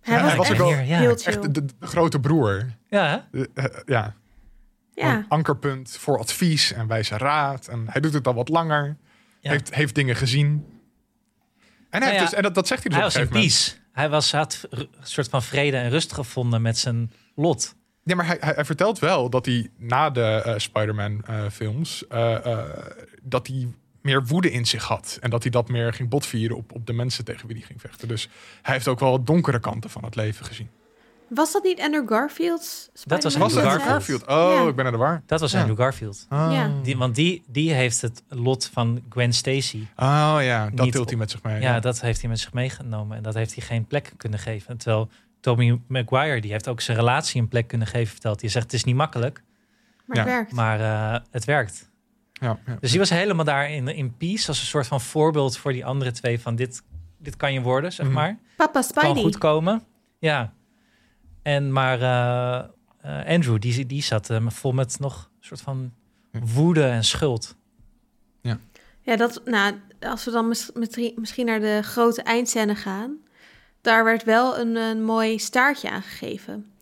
S2: Hij
S3: Ja,
S2: was,
S3: hij was
S2: echt
S3: ook wel
S1: hier, ja.
S2: heel chill.
S3: echt de, de grote broer.
S1: Ja, hè?
S3: Eh, eh, ja,
S2: ja.
S3: Een ankerpunt voor advies en wijze raad. En hij doet het al wat langer.
S1: Ja.
S3: Heeft, heeft dingen gezien. En, hij
S1: Nou
S3: heeft
S1: ja,
S3: dus, en dat, dat zegt hij dus
S1: hij
S3: op
S1: was
S3: een
S1: in
S3: gegeven moment.
S1: peace. Hij was, had ru- een soort van vrede en rust gevonden met zijn lot.
S3: Nee, maar hij, hij, hij vertelt wel dat hij na de eh, Spider-Man eh, films... eh, eh, dat hij meer woede in zich had. En dat hij dat meer ging botvieren op, op de mensen tegen wie hij ging vechten. Dus hij heeft ook wel wat donkere kanten van het leven gezien.
S2: Was dat niet Andrew Garfield's Spider-Man?
S1: was
S3: Was
S1: Andrew
S3: het
S2: zelf?
S1: Garfield.
S3: Garfield? Oh,
S2: Ja.
S3: ik ben naar de Ah. waar.
S1: Dat was
S3: Ja.
S1: Andrew Garfield.
S2: Ja.
S3: Hmm.
S1: Die, want die, die heeft het lot van Gwen Stacy.
S3: Oh ja, dat
S1: Niet
S3: tilt
S1: op-
S3: hij met zich mee.
S1: Ja, dat heeft hij met zich meegenomen. En dat heeft hij geen plek kunnen geven. Terwijl Tommy Maguire, die heeft ook zijn relatie een plek kunnen geven, vertelt hij. zegt, het is niet makkelijk,
S2: Maar het
S3: Ja.
S2: werkt.
S1: maar eh, het werkt.
S3: Ja, ja.
S1: Dus die was helemaal daar in, in peace. Als een soort van voorbeeld voor die andere twee. Van dit, dit kan je worden, zeg
S3: Mhm.
S1: maar.
S2: Papa
S1: Kan
S2: Spidey.
S1: goed komen. Ja. En maar eh, eh, Andrew, die, die zat eh, vol met nog een soort van woede en schuld.
S2: Ja, dat, nou, als we dan mis- misschien- misschien naar de grote eindscène gaan. Daar werd wel een, een mooi staartje aangegeven.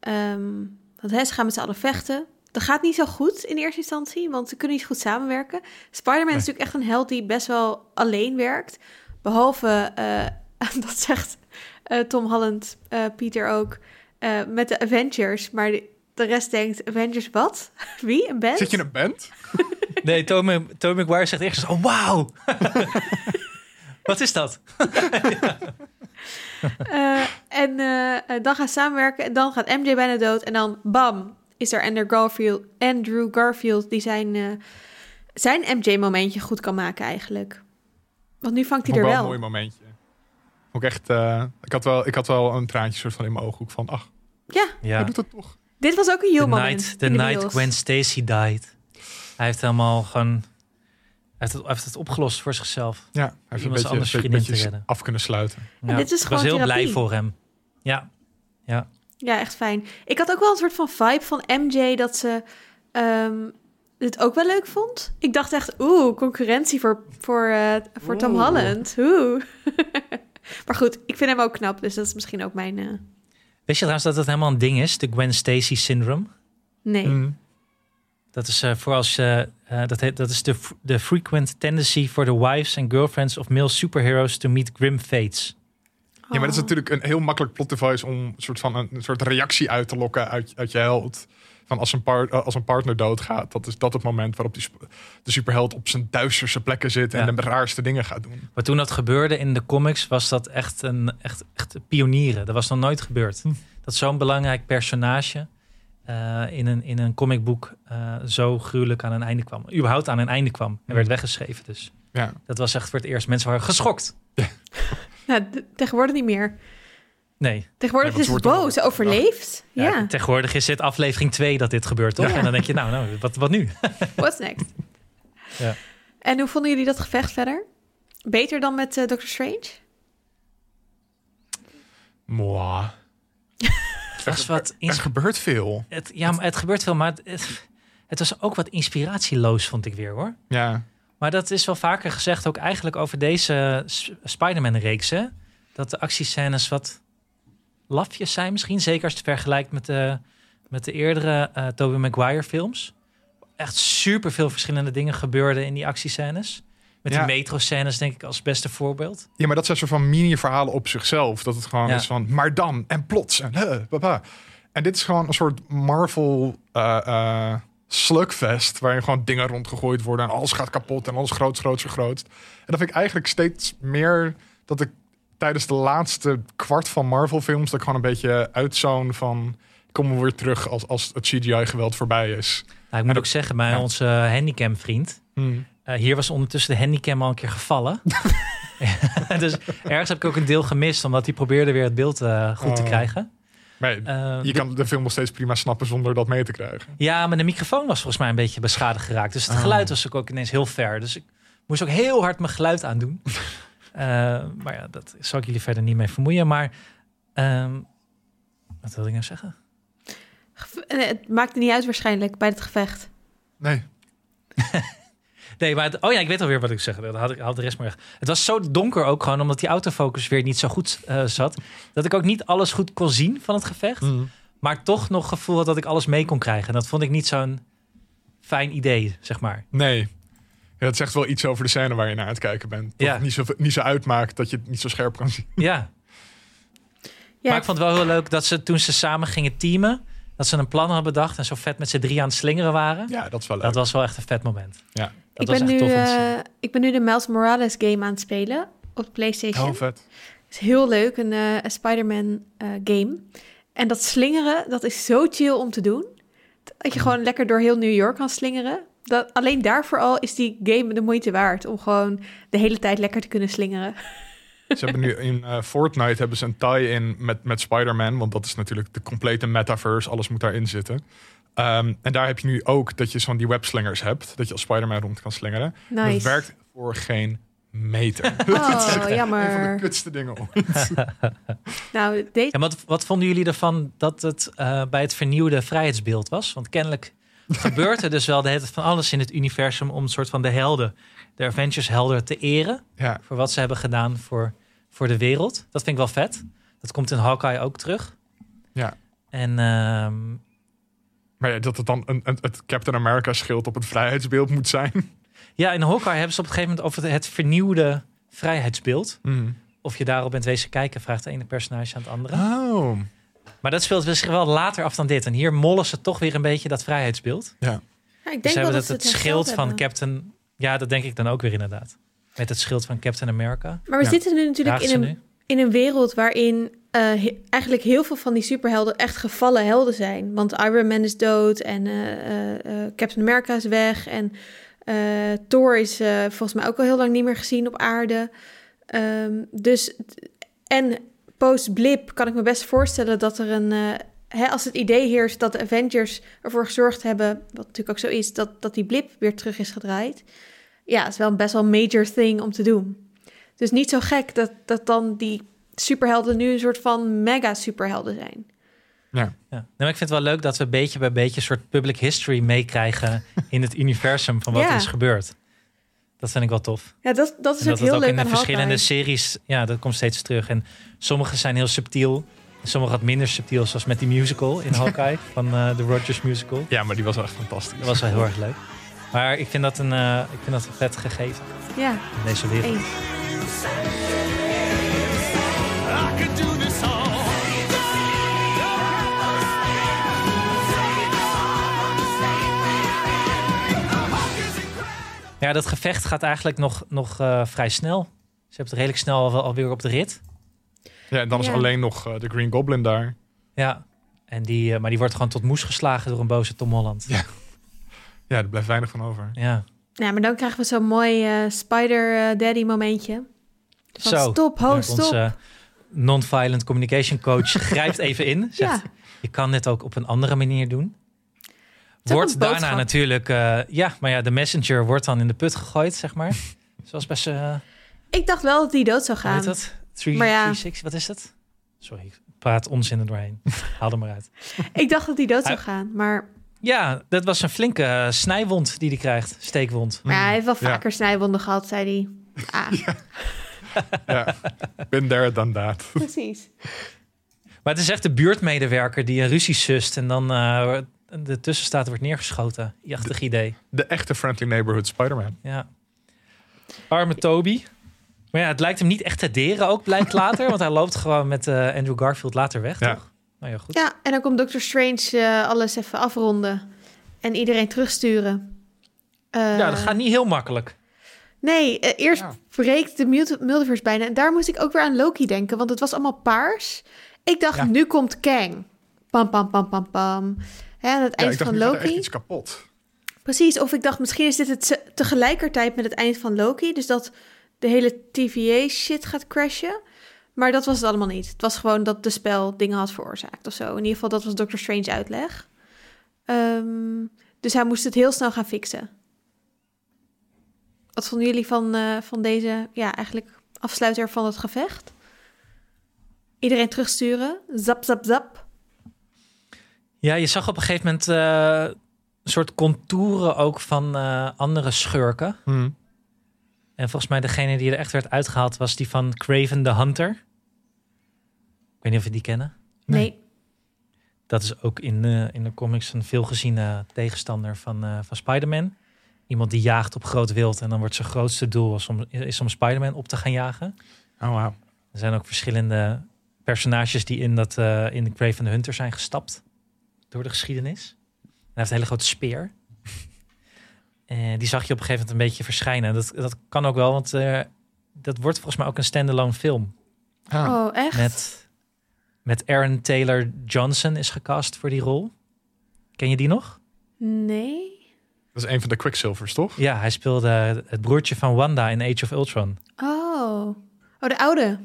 S2: Ehm want hè, ze gaan met z'n allen vechten. Dat gaat niet zo goed in eerste instantie, want ze kunnen niet goed samenwerken. Spider-Man is natuurlijk echt een held die best wel alleen werkt. Behalve, eh, dat zegt eh, Tom Holland, eh, Peter ook, eh, met de Avengers. Maar de, de rest denkt, Avengers wat? Wie? Een band?
S3: Zit je in een band?
S1: Nee, Tommy, Tommy McGuire zegt echt zo, oh wauw. Wat is dat?
S2: Eh, en eh, eh, dan gaan ze samenwerken. En dan gaat MJ bijna dood. En dan bam, is er Andrew Garfield, Andrew Garfield die zijn, eh, zijn MJ-momentje goed kan maken eigenlijk. Want nu vangt hij
S3: Vond
S2: er
S3: ik
S2: wel.
S3: een mooi momentje. Ook echt, eh, ik, had wel, ik had wel een traantje soort van in mijn ooghoek van, ach,
S2: Ja,
S1: Ja,
S3: hij doet het toch.
S2: dit was ook een heel
S1: the
S2: moment.
S1: night, the
S2: in de
S1: night
S2: Beatles.
S1: Gwen Stacy died. Hij heeft helemaal gewoon... Hij heeft het, hij heeft het opgelost voor zichzelf.
S3: Ja, hij heeft een
S1: Iemand
S3: beetje,
S1: anders
S3: een
S1: vriendin
S3: beetje
S1: te redden.
S3: af kunnen sluiten.
S2: Maar dit is
S1: ik was
S2: gewoon
S1: heel blij
S2: therapie.
S1: voor hem. Ja,
S2: Ja, echt fijn. Ik had ook wel een soort van vibe van MJ dat ze ehm dit ook wel leuk vond. Ik dacht echt, oeh, concurrentie voor, voor, eh, voor Tom
S1: Oeh.
S2: Holland. Oeh. maar goed, ik vind hem ook knap, dus dat is misschien ook mijn... eh,
S1: Weet je trouwens dat dat helemaal een ding is, de Gwen Stacy syndrome?
S2: nee.
S3: Mm.
S1: Dat is eh, voor als je, eh, dat, heet, dat is de f- de frequent tendency for the wives and girlfriends of male superheroes to meet grim fates.
S3: Ja,
S2: Oh.
S3: maar dat is natuurlijk een heel makkelijk plot device om een soort van een, een soort reactie uit te lokken uit, uit je held. Van als een, par- eh, als een partner doodgaat, dat is dat het moment waarop die, sp- de superheld op zijn duisterste plekken zit en
S1: Ja.
S3: de raarste dingen gaat doen.
S1: Maar toen dat gebeurde in de comics, was dat echt een echt, echt pionieren. Dat was nog nooit gebeurd.
S3: Hm.
S1: Dat zo'n belangrijk personage eh, in, een, in een comicboek eh, zo gruwelijk aan een einde kwam. Überhaupt aan een einde kwam en
S3: Hm.
S1: werd weggeschreven. Dus
S3: Ja.
S1: dat was echt voor het eerst. Mensen waren geschokt.
S2: Nou, d- tegenwoordig niet meer.
S1: Nee,
S2: Tegenwoordig
S3: Nee,
S2: is het
S3: want het wordt
S2: boos,
S3: toch-
S2: overleefd. Ja,
S1: ja. tegenwoordig is dit aflevering 2 dat dit gebeurt, toch?
S2: Ja.
S1: En dan denk je, nou, nou wat, wat nu?
S2: what's next?
S1: Ja.
S2: En hoe vonden jullie dat gevecht verder? Beter dan met eh, Doctor Strange?
S3: Mwah.
S1: Het was wat
S3: Er
S1: ins-
S3: gebeurt veel.
S1: het, ja, maar het gebeurt veel, maar het- het, het was ook wat inspiratieloos, vond ik weer, hoor.
S3: Ja.
S1: Maar dat is wel vaker gezegd, ook eigenlijk over deze S- Spider-Man-reeks. hè? Dat de actiescènes wat lafjes zijn misschien. Zeker als je het vergelijkt met de, met de eerdere eh Tobey Maguire-films. Echt super veel verschillende dingen gebeurden in die actiescènes. Met
S3: Ja.
S1: die metro-scènes denk ik als beste voorbeeld. Nou,
S3: ja, maar dat zijn soort van mini-verhalen op zichzelf. Dat het gewoon
S1: Ja.
S3: is van, maar dan en plots en huh, papa. En dit is gewoon een soort Marvel eh, eh, slugfest... waarin gewoon dingen rondgegooid worden en alles gaat kapot... en alles groots, groots, groots. En dat vind ik eigenlijk steeds meer dat ik tijdens de laatste kwart van Marvel-films... dat ik gewoon een beetje uitzoon van... komen we weer terug als, als het CGI-geweld voorbij is.
S1: Nou, ik moet
S3: dat-
S1: ook zeggen, bij
S3: ja.
S1: onze handicam-vriend...
S3: Hmm.
S1: Eh, hier was ondertussen de handicam al een keer gevallen. dus ergens heb ik ook een deel gemist, omdat hij probeerde weer het beeld eh, goed te
S3: Oh.
S1: krijgen.
S3: Maar
S1: Eh,
S3: je kan de film nog steeds prima snappen zonder dat mee te krijgen.
S1: Ja, maar de microfoon was volgens mij een beetje beschadigd geraakt. Dus het
S3: Ah.
S1: geluid was ook, ook ineens heel ver. Dus ik moest ook heel hard mijn geluid aandoen. Eh maar ja, dat zal ik jullie verder niet mee vermoeien. Maar ehm, wat wilde ik nou zeggen?
S2: Geve- eh, het maakte niet uit waarschijnlijk bij het gevecht.
S3: Nee,
S1: Nee, maar het- oh ja, ik weet alweer wat ik zeg. Dat had ik had de rest maar weg. Het was zo donker ook gewoon, omdat die autofocus weer niet zo goed eh, zat. Dat ik ook niet alles goed kon zien van het gevecht.
S3: Mm. Hmm.
S1: Maar toch nog gevoel had dat ik alles mee kon krijgen. En dat vond ik niet zo'n fijn idee, zeg maar.
S3: Nee. Ja, dat zegt wel iets over de scène waar je naar aan het kijken bent. Dat
S1: Ja.
S3: het niet zo, niet zo uitmaakt dat je het niet zo scherp kan zien.
S1: Ja.
S2: Ja,
S1: Maar ik vond het wel heel leuk dat ze toen ze samen gingen teamen, dat ze een plan hadden bedacht en zo vet met z'n drie aan het slingeren waren.
S3: Ja, dat is wel leuk.
S1: Dat was wel echt een vet moment.
S3: Ja.
S1: Dat
S2: ik,
S1: was
S2: ben
S1: echt
S2: nu,
S1: tof om te zien. Oh,
S2: eh, ik ben nu de Miles Morales game aan het spelen op de PlayStation.
S3: Heel vet.
S2: is heel leuk, een, eh, een Spider-Man eh, game. En dat slingeren, dat is zo chill om te doen. Dat je gewoon lekker door heel New York kan slingeren. Dat, alleen daarvoor al is die game de moeite waard. Om gewoon de hele tijd lekker te kunnen slingeren.
S3: Ze hebben nu in eh, Fortnite hebben ze een tie-in met, met Spider-Man. Want dat is natuurlijk de complete metaverse. Alles moet daarin zitten. Ehm, en daar heb je nu ook dat je zo'n die webslingers hebt. Dat je als Spider-Man rond kan slingeren.
S2: Nice.
S3: Dat werkt voor geen meter.
S2: Oh,
S3: Een van de
S2: jammer.
S3: kutste dingen ooit.
S2: Nou, deze...
S1: En wat, wat vonden jullie ervan dat het eh, bij het vernieuwde vrijheidsbeeld was? Want kennelijk gebeurt er dus wel de hele tijd van alles in het universum om een soort van de helden, de Avengers helden te eren
S3: Ja.
S1: voor wat ze hebben gedaan voor, voor de wereld. Dat vind ik wel vet. Dat komt in Hawkeye ook terug.
S3: Ja.
S1: En ehm,
S3: Maar ja, dat het dan een, een- het Captain America schild op het vrijheidsbeeld moet zijn.
S1: Ja, in Hawkeye hebben ze op een gegeven moment over het vernieuwde vrijheidsbeeld.
S3: Mm.
S1: Of je daarop bent wezen kijken, vraagt de ene personage aan het andere.
S3: Oh.
S1: Maar dat speelt zich wel later af dan dit. En hier mollen ze toch weer een beetje dat vrijheidsbeeld.
S2: Ja, ik
S1: Dus
S2: denk
S1: ze
S2: wel
S1: hebben
S2: dat
S1: dat
S2: ze
S1: het
S2: hersteld
S1: schild van
S2: hebben.
S1: Captain... Ja, dat denk ik dan ook weer inderdaad. Met het schild van Captain America.
S2: Maar we
S3: Ja.
S2: zitten nu natuurlijk
S1: Dragen
S2: in
S1: ze
S2: een,
S1: nu?
S2: in een wereld waarin eh, he- eigenlijk heel veel van die superhelden echt gevallen helden zijn. Want Iron Man is dood en eh, eh, eh, Captain America is weg en eh, Thor is eh, volgens mij ook al heel lang niet meer gezien op aarde. Ehm, dus en post-blip kan ik me best voorstellen dat er een. eh, hè, als het idee heerst dat de Avengers ervoor gezorgd hebben, wat natuurlijk ook zo is, dat, dat die blip weer terug is gedraaid. Ja, is wel een best wel major thing om te doen. Dus niet zo gek dat, dat dan die superhelden nu een soort van mega superhelden zijn.
S1: Ja. Nee, maar ik vind het wel leuk dat we beetje bij beetje een soort public history meekrijgen... in het universum van wat
S2: Ja.
S1: er is gebeurd. Dat vind ik wel tof.
S2: Ja, dat, dat is
S1: En
S2: ook
S1: dat het
S2: heel
S1: ook
S2: leuk
S1: in
S2: aan
S1: de verschillende
S2: Hawkeye.
S1: series, ja, dat komt steeds terug. En sommige zijn heel subtiel, en sommige wat minder subtiel, zoals met die musical in Hawkeye van eh, de Rogers Musical.
S3: Ja, maar die was echt fantastisch.
S1: Dat was wel heel erg leuk. Maar ik vind dat een, eh, ik vind dat een vet gegeven
S2: Ja,
S1: in deze wereld.
S2: eens.
S4: I can
S1: Ja, dat gevecht gaat eigenlijk nog, nog eh, vrij snel. Ze hebben het redelijk snel al- alweer op de rit.
S3: Ja, en dan
S2: Ja.
S3: is alleen nog eh, de Green Goblin daar.
S1: Ja. En die, eh, maar die wordt gewoon tot moes geslagen door een boze Tom Holland.
S3: Ja. Ja, er blijft weinig van over.
S1: Ja.
S2: Nou, maar dan krijgen we zo'n mooi eh, Spider eh, Daddy momentje. Van
S1: Zo.
S2: stop, ho,
S1: Dus
S2: Oh, stop.
S1: Onze non-violent communication coach grijpt even in. Zegt,
S2: Ja,
S1: je kan dit ook op een andere manier doen.
S2: is ook
S1: Wordt
S2: een
S1: daarna
S2: boodschap.
S1: natuurlijk, eh, ja, maar ja, de messenger wordt dan in de put gegooid, zeg maar. Zoals bij ze, eh,
S2: ik dacht wel dat die dood zou
S1: hoe
S2: gaan.
S1: heet dat? 3,
S2: Maar ja.
S1: 360, wat is het? Sorry, ik praat onzin er doorheen. Haal er maar uit.
S2: Ik dacht dat die dood zou
S1: Hij- Mm,
S2: gaan, maar,
S1: Ja, dat was een flinke eh, snijwond die hij krijgt, steekwond.
S2: maar ja, hij heeft wel
S3: Ja.
S2: vaker snijwonden gehad, zei hij. Ah,
S3: Ja. Been there, done that.
S2: precies.
S1: Maar het is echt de buurtmedewerker die een ruzie sust en dan eh, de tussenstaat wordt neergeschoten. Jachtig idee.
S3: De echte Friendly Neighborhood Spider-Man.
S1: Ja. Arme Toby. Maar ja, het lijkt hem niet echt te deren ook, blijkt later. want hij loopt gewoon met eh, Andrew Garfield later weg,
S3: Ja.
S1: toch? Nou ja, goed.
S2: Ja, en dan komt Doctor Strange eh, alles even afronden en iedereen terugsturen. Eh,
S1: Ja, dat gaat niet heel makkelijk.
S2: Nee, eh, eerst
S3: Ja.
S2: breekt de multi- multiverse bijna. En daar moest ik ook weer aan Loki denken, want het was allemaal paars. Ik dacht,
S1: Ja.
S2: nu komt Kang. Pam, pam, pam, pam, pam. Hè, aan het
S3: Ja,
S2: eind
S3: ik dacht,
S2: van
S3: nu gaat er echt
S2: Loki.
S3: iets kapot.
S2: Precies, of ik dacht, misschien is dit het ze- tegelijkertijd met het eind van Loki. Dus dat de hele TVA-shit gaat crashen. Maar dat was het allemaal niet. Het was gewoon dat de spel dingen had veroorzaakt of zo. In ieder geval, dat was Doctor Strange uitleg. Ehm, dus hij moest het heel snel gaan fixen. Wat vonden jullie van, eh, van deze, ja, eigenlijk afsluiter van het gevecht? Iedereen terugsturen. Zap, zap, zap.
S1: Ja, je zag op een gegeven moment eh, een soort contouren ook van eh, andere schurken. En volgens mij degene die er echt werd uitgehaald was die van Craven the Hunter. Ik weet niet of we die kennen.
S2: Nee.
S3: Nee.
S1: Dat is ook in, eh, in de comics een veelgeziene tegenstander van, eh, van Spider-Man. Iemand die jaagt op groot wild en dan wordt zijn grootste doel is om, is om Spider-Man op te gaan jagen.
S3: Oh, wauw.
S1: Er zijn ook verschillende personages die in, dat, eh, in de Craven the Hunter zijn gestapt door de geschiedenis. En hij heeft een hele grote speer. en die zag je op een gegeven moment een beetje verschijnen. Dat, dat kan ook wel, want eh, dat wordt volgens mij ook een standalone film.
S3: Ah.
S2: Oh, echt?
S1: Met, met Aaron Taylor Johnson is gecast voor die rol. Ken je die nog?
S2: Nee.
S3: Dat is een van de Quicksilvers, toch?
S1: Ja, hij speelde het broertje van Wanda in Age of Ultron.
S2: Oh. Oh, de oude.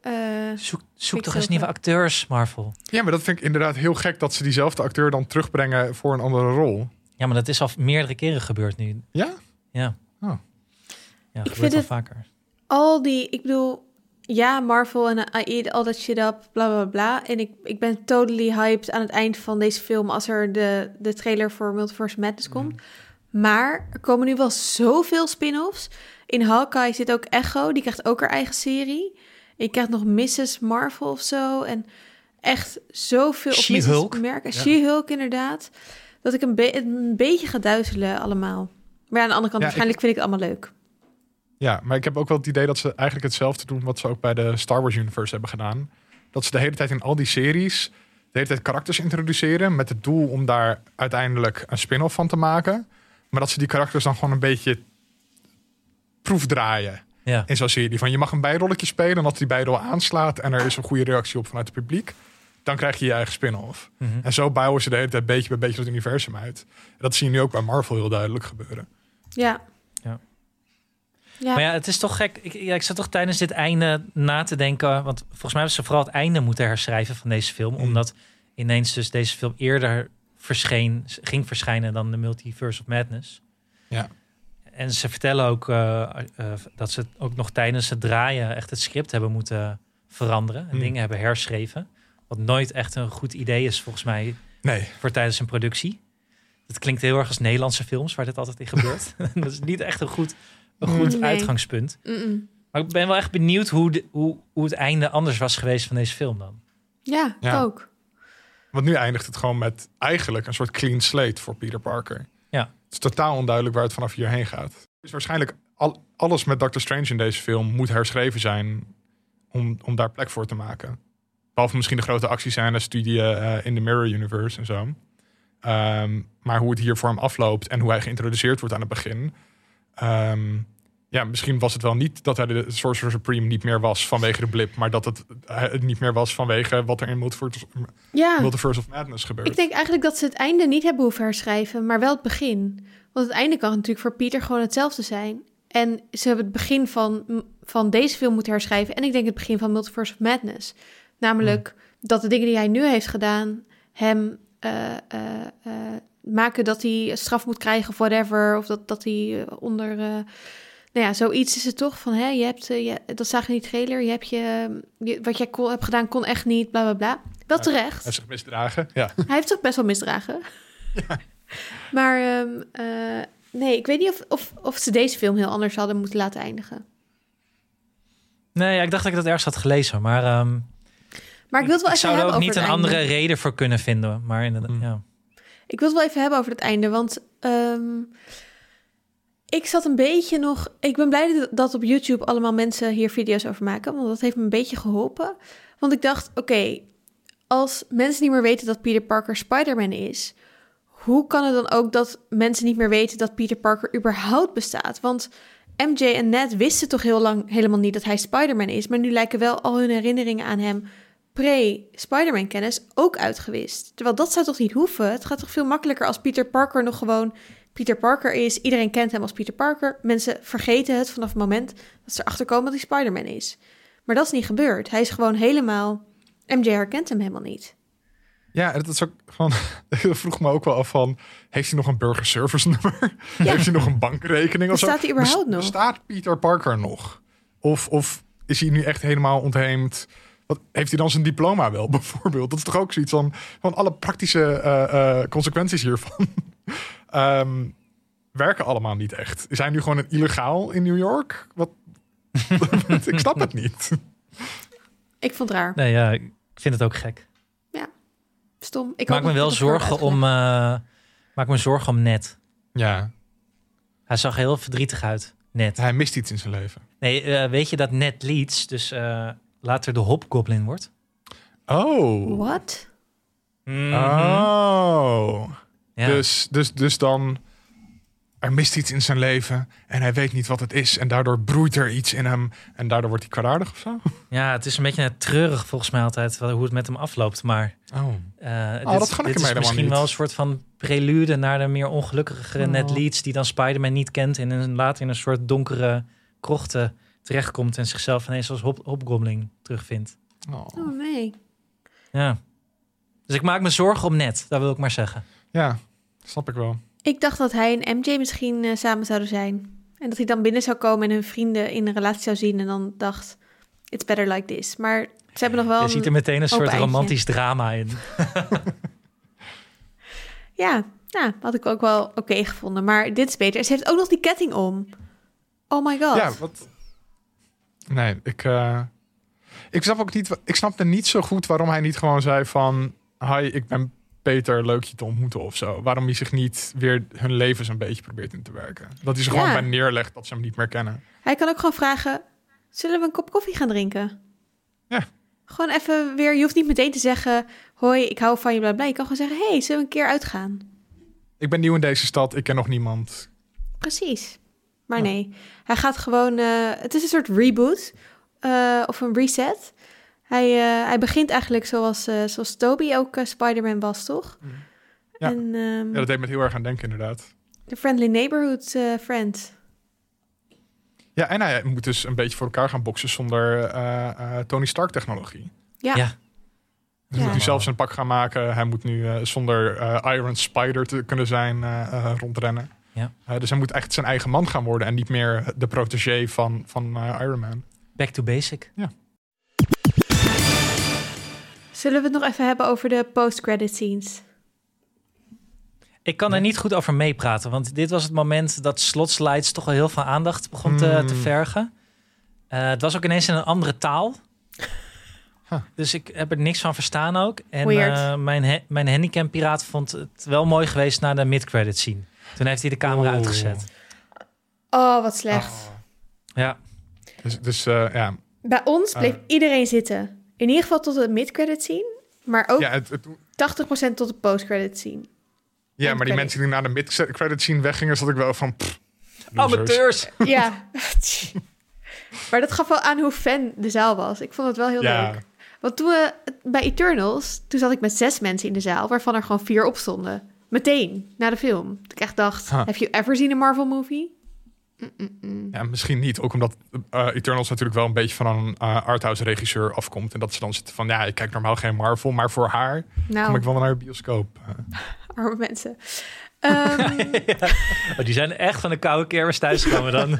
S2: Eh,
S1: Zoek, zoek toch eens
S2: Quicksilver.
S1: nieuwe acteurs, Marvel.
S3: Ja, maar dat vind ik inderdaad heel gek dat ze diezelfde acteur dan terugbrengen voor een andere rol.
S1: Ja, maar dat is al meerdere keren gebeurd nu.
S3: Ja?
S1: Ja.
S3: Oh.
S1: Ja,
S2: Ik
S1: ik
S2: vind
S1: vind wel
S2: het-
S1: vaker.
S2: al die, ik bedoel, ja, Marvel en AI, al dat shit up, bla bla bla. En ik, ik ben totally hyped aan het eind van deze film als er de, de trailer voor Multiverse Madness komt. Maar er komen nu wel zoveel spin-offs. In Hawkeye zit ook Echo, die krijgt ook haar eigen serie. Je krijgt nog Mrs. Marvel of zo. En echt zoveel... of Mrs.
S1: She-Hulk.
S2: Merk en
S3: Ja.
S2: She-Hulk inderdaad. Dat ik een, be- een beetje ga duizelen allemaal. Maar ja, aan de andere kant,
S3: Ja,
S2: waarschijnlijk vind ik het allemaal leuk.
S3: Ja, maar ik heb ook wel het idee dat ze eigenlijk hetzelfde doen wat ze ook bij de Star Wars Universe hebben gedaan. Dat ze de hele tijd in al die series de hele tijd karakters introduceren met het doel om daar uiteindelijk een spin-off van te maken. Maar dat ze die karakters dan gewoon een beetje proefdraaien
S1: Ja.
S3: in zo'n serie. Van je mag een bijrolletje spelen en als die bijrol aanslaat en er is een goede reactie op vanuit het publiek, dan krijg je je eigen spin-off.
S1: Mhm.
S3: En zo bouwen ze de hele tijd beetje bij beetje het universum uit. En dat zie je nu ook bij Marvel heel duidelijk gebeuren.
S2: Ja.
S1: Ja.
S2: Ja.
S1: Maar ja, het is toch gek. Ik, ja, ik zat toch tijdens dit einde na te denken. Want volgens mij hebben ze vooral het einde moeten herschrijven van deze film.
S3: Mm.
S1: Omdat ineens dus deze film eerder verscheen, ging verschijnen dan de Multiverse of Madness.
S3: Ja.
S1: En ze vertellen ook eh, eh, dat ze het ook nog tijdens het draaien echt het script hebben moeten veranderen. En
S3: Mm.
S1: dingen hebben herschreven. Wat nooit echt een goed idee is volgens mij
S3: Nee,
S1: voor tijdens een productie. Het klinkt heel erg als Nederlandse films waar dit altijd in gebeurt. dat is niet echt een goed, een goed
S2: Nee.
S1: uitgangspunt.
S2: Mm-mm.
S1: Maar ik ben wel echt benieuwd hoe, de- hoe, hoe het einde anders was geweest van deze film dan.
S2: ja,
S3: Ja.
S2: ook.
S3: Want nu eindigt het gewoon met eigenlijk een soort clean slate voor Peter Parker.
S1: Ja.
S3: Het is totaal onduidelijk waar het vanaf hierheen gaat. Dus waarschijnlijk al, alles met Doctor Strange in deze film moet herschreven zijn om, om daar plek voor te maken. Behalve misschien de grote actiescènes die die, eh, in de Mirror Universe en zo. Ehm, maar hoe het hier voor hem afloopt en hoe hij geïntroduceerd wordt aan het begin. eh, Ehm, ja, misschien was het wel niet dat hij de Sorcerer Supreme niet meer was vanwege de blip, maar dat het eh, niet meer was vanwege wat er in Multiverse,
S2: Ja,
S3: Multiverse of Madness gebeurt.
S2: ik denk eigenlijk dat ze het einde niet hebben hoeven herschrijven, maar wel het begin. Want het einde kan natuurlijk voor Pieter gewoon hetzelfde zijn. En ze hebben het begin van, van deze film moeten herschrijven. En ik denk het begin van Multiverse of Madness. Namelijk dat de dingen die hij nu heeft gedaan hem eh, eh, eh, maken dat hij straf moet krijgen of whatever. Of dat, dat hij eh, onder. eh, nou ja, zoiets is het toch van hè, je hebt. eh, je, dat zag je niet trailer. Je hebt je, je- Wat jij kon, hebt gedaan kon echt niet, bla bla bla. Wel
S3: Ja,
S2: terecht.
S3: Hij heeft zich misdragen. Ja.
S2: Hij heeft zich best wel misdragen. Maar ehm, eh, nee, ik weet niet of, of, of ze deze film heel anders hadden moeten laten eindigen.
S1: Nee, ja, ik dacht dat ik dat ergens had gelezen, maar ehm,
S2: Maar ik wil het wel
S1: ik
S2: even
S1: zou er
S2: hebben
S1: ook
S2: over
S1: niet
S2: het
S1: een
S2: einde. Mm.
S1: andere reden voor kunnen vinden. Maar inderdaad,
S3: Hmm.
S1: ja.
S2: Ik wil het wel even hebben over het einde, want ehm, ik zat een beetje nog... Ik ben blij dat- dat op YouTube allemaal mensen hier video's over maken, want dat heeft me een beetje geholpen. Want ik dacht, oké, als mensen niet meer weten dat Peter Parker Spider-Man is... hoe kan het dan ook dat mensen niet meer weten dat Peter Parker überhaupt bestaat? Want MJ en Ned wisten toch heel lang helemaal niet dat hij Spider-Man is... maar nu lijken wel al hun herinneringen aan hem pre-Spider-Man-kennis ook uitgewist. Terwijl dat zou toch niet hoeven? Het gaat toch veel makkelijker als Peter Parker nog gewoon Peter Parker is. Iedereen kent hem als Peter Parker. Mensen vergeten het vanaf het moment dat ze erachter komen dat hij Spider-Man is. Maar dat is niet gebeurd. Hij is gewoon helemaal... MJ herkent hem helemaal niet.
S3: Ja, en dat is ook gewoon. Ik vroeg me ook wel af van. Heeft hij nog een burgerservice nummer? Heeft hij nog een bankrekening of zo?
S2: Bestaat hij überhaupt nog?
S3: Bestaat Peter Parker nog? Of, of is hij nu echt helemaal ontheemd? Wat, heeft hij dan zijn diploma wel bijvoorbeeld? Dat is toch ook zoiets van, van alle praktische eh, eh, consequenties hiervan. Ehm, werken allemaal niet echt. Is hij nu gewoon een illegaal in New York? Wat? ik snap het niet.
S2: Ik vond het raar.
S1: Nee, ja, ik vind het ook gek.
S2: Stom. Ik
S1: Ik maak
S2: hoop
S1: me
S2: dat
S1: wel
S2: het wordt
S1: zorgen om, eh, maak me zorgen om Ned.
S3: Ja,
S1: Hij zag heel verdrietig uit, Ned.
S3: hij mist iets in zijn leven.
S1: Nee, eh, weet je dat Ned Leeds dus eh, later de Hobgoblin wordt?
S3: Oh.
S2: uitgelegd. What? Mm-hmm.
S3: Oh.
S1: Ja.
S3: Dus, dus, dus dan. Er mist iets in zijn leven en hij weet niet wat het is. En daardoor broeit er iets in hem. En daardoor wordt hij kwaadaardig of zo.
S1: ja, het is een beetje eh, treurig volgens mij altijd wel hoe het met hem afloopt. Maar
S3: Oh.
S1: eh, dit,
S3: dat gun ik hem
S1: dit is
S3: helemaal
S1: misschien
S3: niet.
S1: wel een soort van prelude naar de meer ongelukkigere
S3: Oh.
S1: Ned Leeds... die dan Spider-Man niet kent en in- later in een soort donkere krochten terechtkomt... en zichzelf ineens als Hob Hobgoblin terugvindt.
S2: Oh nee.
S1: Ja. Dus ik maak me zorgen om Ned, dat wil ik maar zeggen.
S3: Ja, snap ik wel.
S2: Ik dacht dat hij en MJ misschien eh, samen zouden zijn. En dat hij dan binnen zou komen en hun vrienden in een relatie zou zien. En dan dacht, it's better like this. Maar ze hebben nog wel...
S1: Je ziet er
S2: een-
S1: meteen een soort
S2: open eindje.
S1: romantisch drama in.
S2: Ja, nou, had ik ook wel oké gevonden. Maar dit is beter. En ze heeft ook nog die ketting om. Oh my god.
S3: Ja, wat. Nee, ik. eh, ik snap ook niet. wa- Ik snapte niet zo goed waarom hij niet gewoon zei van. Hi, ik ben Peter, leuk je te ontmoeten of zo. Waarom hij zich niet weer hun levens een beetje probeert in te werken. Dat hij ze gewoon
S2: Ja.
S3: bij neerlegt dat ze hem niet meer kennen.
S2: Hij kan ook gewoon vragen, zullen we een kop koffie gaan drinken?
S3: Ja.
S2: Gewoon even weer, je hoeft niet meteen te zeggen... hoi, ik hou van je, bla bla. Je kan gewoon zeggen, hey, zullen we een keer uitgaan?
S3: Ik ben nieuw in deze stad, ik ken nog niemand.
S2: Precies. Maar
S3: Ja.
S2: nee, hij gaat gewoon. eh, het is een soort reboot eh, of een reset. Hij, eh, hij begint eigenlijk zoals, eh, zoals Toby ook eh, Spider-Man was, toch?
S3: Mm. Ja.
S2: En ehm,
S3: Ja, dat deed me heel erg aan denken, inderdaad.
S2: de Friendly Neighborhood eh, Friend.
S3: Ja, en hij moet dus een beetje voor elkaar gaan boksen zonder eh, eh, Tony Stark-technologie.
S2: Ja.
S1: Ja.
S3: Dus
S2: Ja.
S3: moet hij zelf zijn pak gaan maken. Hij moet nu eh, zonder eh, Iron Spider te kunnen zijn eh, eh, rondrennen.
S1: Ja.
S3: Eh, dus hij moet echt zijn eigen man gaan worden en niet meer de protégé van, van eh, Iron Man.
S1: Back to basic.
S2: Zullen we het nog even hebben over de post-credit scenes?
S1: Ik kan er niet goed over meepraten, want dit was het moment dat slotslides toch al heel veel aandacht begon te,
S3: Hmm.
S1: te vergen. Eh, het was ook ineens in een andere taal.
S3: Huh.
S1: Dus ik heb er niks van verstaan ook. En
S2: Weird.
S1: eh, mijn, he- mijn handicappiraat vond het wel mooi geweest na de mid-credit scene. Toen heeft hij de camera
S3: Oh.
S1: uitgezet.
S2: Oh, wat slecht.
S3: Ah.
S1: Ja,
S3: Dus, dus eh, ja,
S2: Bij ons bleef
S3: Ah.
S2: iedereen zitten. In ieder geval tot de mid-credit scene, maar ook
S3: ja, het, het-
S2: 80% tot de post-credit scene.
S3: ja
S2: En
S3: maar die
S2: credit.
S3: mensen die na de mid-credit scene weggingen, zat ik wel van... pff, Losers.
S1: Amateurs!
S2: Ja. maar dat gaf wel aan hoe fan de zaal was. Ik vond het wel heel
S3: Ja,
S2: leuk. Want toen we bij Eternals, toen zat ik met zes mensen in de zaal, waarvan er gewoon vier opstonden. Meteen, na de film. Dat ik echt dacht,
S3: Huh.
S2: have you ever seen a Marvel movie? Mm-mm-mm.
S3: ja, misschien niet. Ook omdat eh, Eternals natuurlijk wel een beetje van een eh, arthouse regisseur afkomt. En dat ze dan zitten van, ja, ik kijk normaal geen Marvel, maar voor haar kom
S2: Nou,
S3: ik wel naar de bioscoop. Eh,
S2: arme mensen. Ehm,
S1: Oh, die zijn echt van de koude kermis thuisgekomen dan.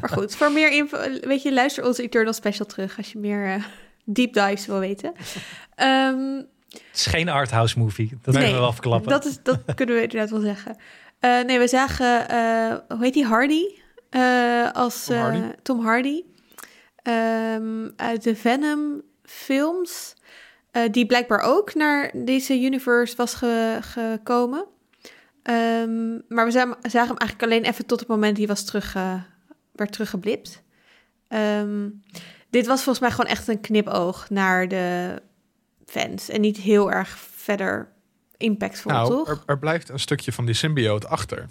S2: maar goed, voor meer info, weet je, luister onze Eternal special terug als je meer eh, deep dives wil weten. Ehm,
S1: Het is geen arthouse movie. Dat
S2: Nee.
S1: kunnen we wel verklappen.
S2: dat, is, dat kunnen we inderdaad wel zeggen. Eh, nee, we zagen, eh, hoe heet die, Hardy? Eh, als
S3: Tom
S2: eh,
S3: Hardy.
S2: Tom Hardy. Ehm, uit de Venom films. eh, die blijkbaar ook naar deze universe was ge- gekomen. Ehm, maar we zagen, zagen hem eigenlijk alleen even tot het moment die was terug, eh, werd teruggeblipt. Ehm, dit was volgens mij gewoon echt een knipoog naar de fans. En niet heel erg verder impactvol,
S3: nou,
S2: toch?
S3: er, er blijft een stukje van die symbioot achter.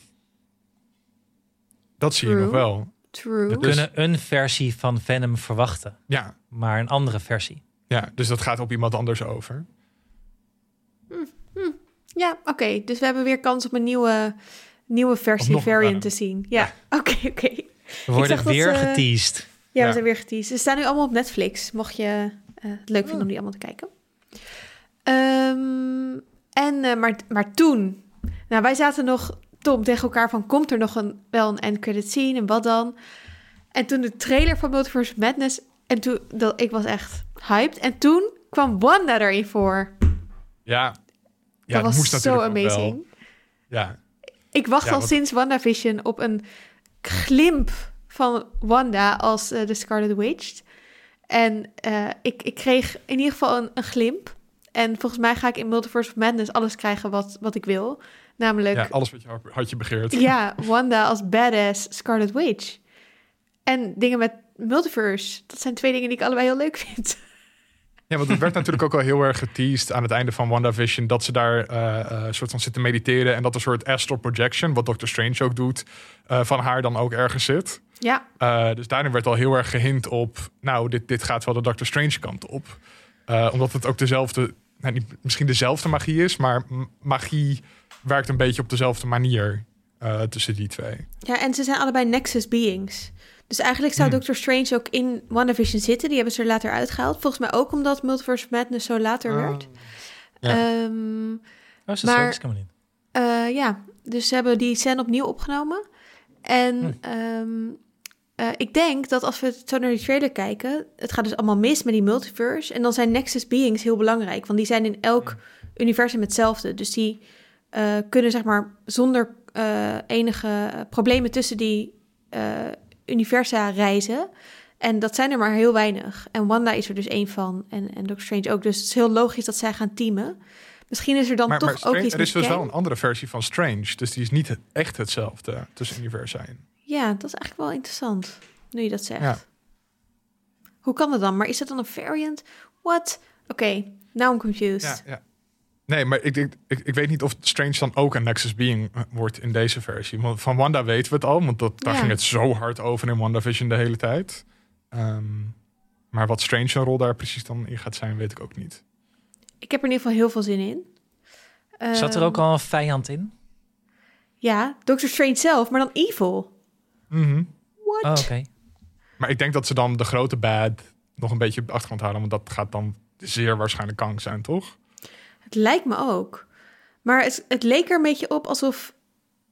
S3: Dat zie je
S2: True.
S3: nog wel.
S2: True.
S1: we
S3: dus-
S1: kunnen een versie van Venom verwachten,
S3: Ja,
S1: maar een andere versie.
S3: ja, dus dat gaat op iemand anders over.
S2: Ja, oké. Dus we hebben weer kans op een nieuwe, nieuwe
S3: Of
S2: versie
S3: nog een
S2: variant te
S3: Venom.
S2: zien. Ja, oké, oké.
S1: We worden
S2: zag dat eh,
S1: weer
S2: ze-
S1: geteased.
S2: Ja, we
S3: Ja.
S2: zijn weer geteased. Ze staan nu allemaal op Netflix, mocht je eh, het leuk
S3: Oh.
S2: vinden om die allemaal te kijken. Ehm, en, eh, maar, maar toen, nou, wij zaten nog, Tom, tegen elkaar van, komt er nog een, wel een end credit scene en wat dan? En toen de trailer van Multiverse Madness, en toen, dat, ik was echt hyped. En toen kwam Wanda erin voor.
S3: Ja, ja
S2: dat
S3: het
S2: was
S3: moest
S2: zo
S3: natuurlijk ook wel.
S2: amazing.
S3: Ja,
S2: Ik wacht
S3: Ja,
S2: al
S3: want-
S2: sinds WandaVision op een glimp van Wanda als eh, de Scarlet Witch. En eh, ik, ik kreeg in ieder geval een, een glimp. En volgens mij ga ik in Multiverse of Madness alles krijgen wat, wat ik wil. Namelijk,
S3: ja,
S2: ja,
S3: alles wat je had- had je begeerd.
S2: Wanda als badass Scarlet Witch. En dingen met Multiverse. Dat zijn twee dingen die ik allebei heel leuk vind.
S3: Ja, want het werd natuurlijk ook al heel erg geteased aan het einde van WandaVision. Dat ze daar eh, eh, soort van zitten mediteren. En dat een soort astral projection, wat Doctor Strange ook doet, eh, van haar dan ook ergens zit.
S2: Ja,
S3: Eh, dus daarin werd al heel erg gehind op, nou, dit, dit gaat wel de Doctor Strange kant op. Eh, omdat het ook dezelfde, nou, niet, misschien dezelfde magie is, maar m- magie werkt een beetje op dezelfde manier eh, tussen die twee.
S2: Ja, en ze zijn allebei Nexus Beings. Dus eigenlijk zou
S3: Hmm.
S2: Doctor Strange ook in WandaVision zitten. Die hebben ze er later uitgehaald. Volgens mij ook omdat Multiverse Madness zo later werd.
S3: Ah. ja.
S2: Ehm,
S1: Oh, is dat
S2: Maar-
S1: zo? Dat kan niet.
S2: eh, ja, dus ze hebben die scène opnieuw opgenomen. En
S3: Hm.
S2: ehm, eh, ik denk dat als we zo naar die trailer kijken... het gaat dus allemaal mis met die multiverse. En dan zijn Nexus Beings heel belangrijk. Want die zijn in elk
S3: Hm.
S2: universum hetzelfde. Dus die eh, kunnen zeg maar zonder eh, enige problemen tussen die eh, universa reizen... En dat zijn er maar heel weinig. En Wanda is er dus één van. En, en Doctor Strange ook. Dus het is heel logisch dat zij gaan teamen. Misschien is er dan
S3: maar
S2: toch
S3: maar Strange-
S2: ook iets
S3: er is
S2: met
S3: dus wel
S2: Kang.
S3: een andere versie van Strange. Dus die is niet echt hetzelfde tussen universa in.
S2: Ja, dat is eigenlijk wel interessant, nu je dat zegt.
S3: Ja.
S2: Hoe kan dat dan? Maar is dat dan een variant? What? Oké, now I'm confused.
S3: Ja, ja. Nee, maar ik, denk- ik, ik weet niet of Strange dan ook een Nexus Being eh, wordt in deze versie. Want van Wanda weten we het al, want dat, daar
S2: Ja.
S3: ging het zo hard over in WandaVision de hele tijd. Ehm, maar wat Strange zijn rol daar precies dan in gaat zijn, weet ik ook niet.
S2: Ik heb er in ieder geval heel veel zin in.
S1: Zat er
S2: Ehm,
S1: ook al een vijand in?
S2: Ja, Doctor Strange zelf, maar dan evil.
S3: Mhm.
S2: What?
S1: Oh, oké.
S3: Maar ik denk dat ze dan de grote bad nog een beetje op de achtergrond houden. Want dat gaat dan zeer waarschijnlijk Kang zijn, toch?
S2: Het lijkt me ook. Maar het, het leek er een beetje op alsof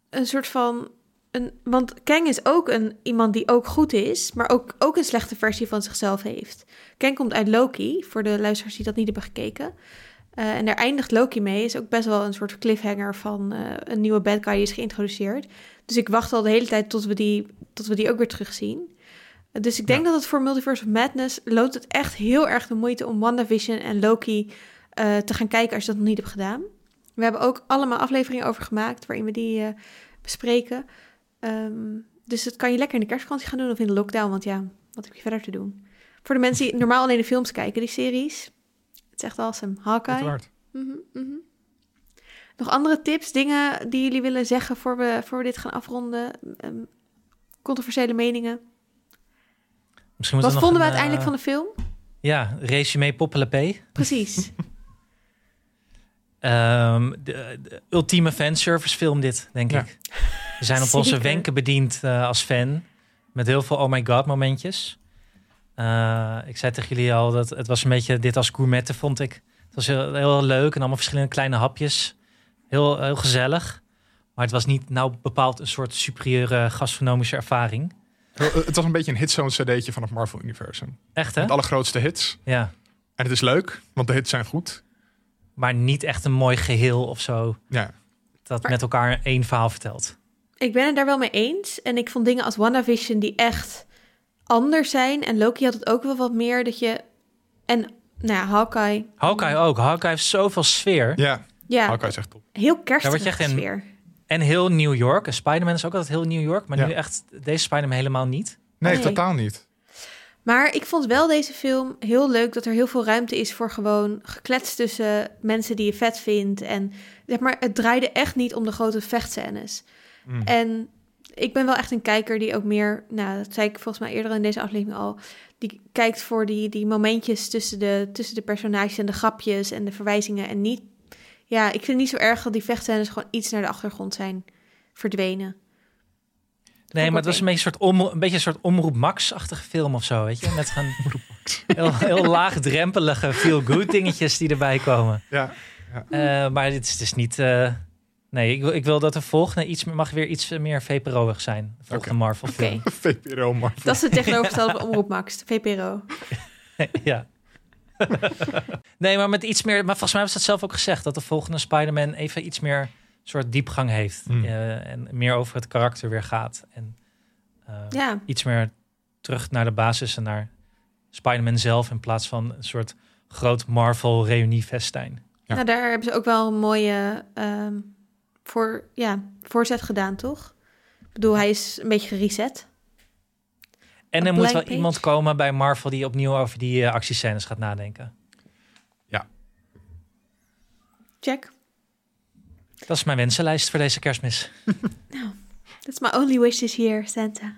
S2: een soort van... Een, want Kang is ook een, iemand die ook goed is, maar ook, ook een slechte versie van zichzelf heeft. Kang komt uit Loki, voor de luisteraars die dat niet hebben gekeken. Eh, en daar eindigt Loki mee. Is ook best wel een soort cliffhanger van eh, een nieuwe bad guy die is geïntroduceerd. Dus ik wacht al de hele tijd tot we die, tot we die ook weer terugzien. Eh, Dus ik denk dat het voor Multiverse of Madness loont het echt heel erg de moeite om WandaVision en Loki eh, te gaan kijken als je dat nog niet hebt gedaan. We hebben ook allemaal afleveringen over gemaakt waarin we die eh, bespreken. Ehm, dus dat kan je lekker in de kerstvakantie gaan doen of in de lockdown, want ja, wat heb je verder te doen? Voor de mensen die normaal alleen de films kijken, die series, het is echt awesome. Hawkeye.
S3: Uiteraard.
S2: Mhm, mhm. Nog andere tips, dingen die jullie willen zeggen voor we, voor we dit gaan afronden? Ehm, Controversiële meningen.
S1: Misschien
S2: Wat
S1: moeten
S2: vonden we
S1: nog een,
S2: uiteindelijk van
S1: eh,
S2: de film?
S1: Ja, resume poppelepee.
S2: Precies.
S1: Ehm de, de ultieme fanservice film dit, denk
S3: Ja.
S1: ik. We zijn op onze
S2: Zeker.
S1: wenken bediend eh, als fan. Met heel veel oh my god momentjes. Eh, ik zei tegen jullie al dat het was een beetje dit als gourmetten vond ik. Het was heel, heel leuk en allemaal verschillende kleine hapjes. Heel, heel gezellig. Maar het was niet nou bepaald een soort superieure gastronomische ervaring.
S3: Eh, Het was een beetje een hitzone cd'tje van het Marvel-universum.
S1: Echt hè?
S3: Met alle grootste hits.
S1: Ja.
S3: En het is leuk, want de hits zijn goed.
S1: Maar niet echt een mooi geheel of zo.
S3: Ja,
S1: Dat
S2: Maar-
S1: met elkaar één verhaal vertelt.
S2: ik ben het daar wel mee eens. En ik vond dingen als WandaVision die echt anders zijn. En Loki had het ook wel wat meer dat je... En nou ja, Hawkeye.
S1: Hawkeye ook. Hawkeye heeft zoveel sfeer.
S3: ja.
S2: Ja,
S3: Hawkeye is echt top.
S2: heel
S1: Daar word
S2: kerstige
S1: je echt in-
S2: sfeer.
S1: En heel New York. En Spider-Man is ook altijd heel New York. Maar
S3: Ja.
S1: nu echt deze Spider-Man helemaal niet.
S3: Nee,
S2: Nee.
S3: totaal niet.
S2: Maar ik vond wel deze film heel leuk dat er heel veel ruimte is voor gewoon geklets tussen mensen die je vet vindt. En zeg maar, het draaide echt niet om de grote vechtscènes.
S3: Mm.
S2: En ik ben wel echt een kijker die ook meer, nou, dat zei ik volgens mij eerder in deze aflevering al, die kijkt voor die, die momentjes tussen de, tussen de personages en de grapjes en de verwijzingen. En niet, ja, ik vind het niet zo erg dat die vechtscènes gewoon iets naar de achtergrond zijn verdwenen.
S1: Nee,
S2: ik
S1: maar het was
S2: ook
S1: een beetje een soort, om, een beetje een soort Omroep Max-achtige film of zo, weet je? Met gewoon heel, heel laagdrempelige feel-good dingetjes die erbij komen.
S3: Ja.
S1: Eh, maar dit is dus niet... eh, nee, ik wil, ik wil dat de volgende iets, meer- mag weer iets meer VPRO'ig zijn. De volgende Marvel
S2: Oké,
S1: film.
S3: VPRO Marvel.
S2: dat is het tegenovergestelde van Omroep Max, de VPRO.
S1: ja. nee, maar met iets meer... Maar volgens mij was dat zelf ook gezegd. Dat de volgende Spider-Man even iets meer soort diepgang heeft.
S3: Hmm.
S1: eh, en meer over het karakter weer gaat. En, eh,
S2: Ja,
S1: iets meer terug naar de basis en naar Spider-Man zelf in plaats van een soort groot Marvel reuniefestijn.
S3: Ja.
S2: Nou, daar hebben ze ook wel een mooie ehm, voor, ja, voorzet gedaan, toch? Ik bedoel, hij is een beetje gereset.
S1: En
S2: Een
S1: er moet wel
S2: blank page.
S1: iemand komen bij Marvel die opnieuw over die eh, actiescènes gaat nadenken.
S2: Check.
S1: Dat is mijn wensenlijst voor deze kerstmis.
S2: That's my only wish this year, Santa.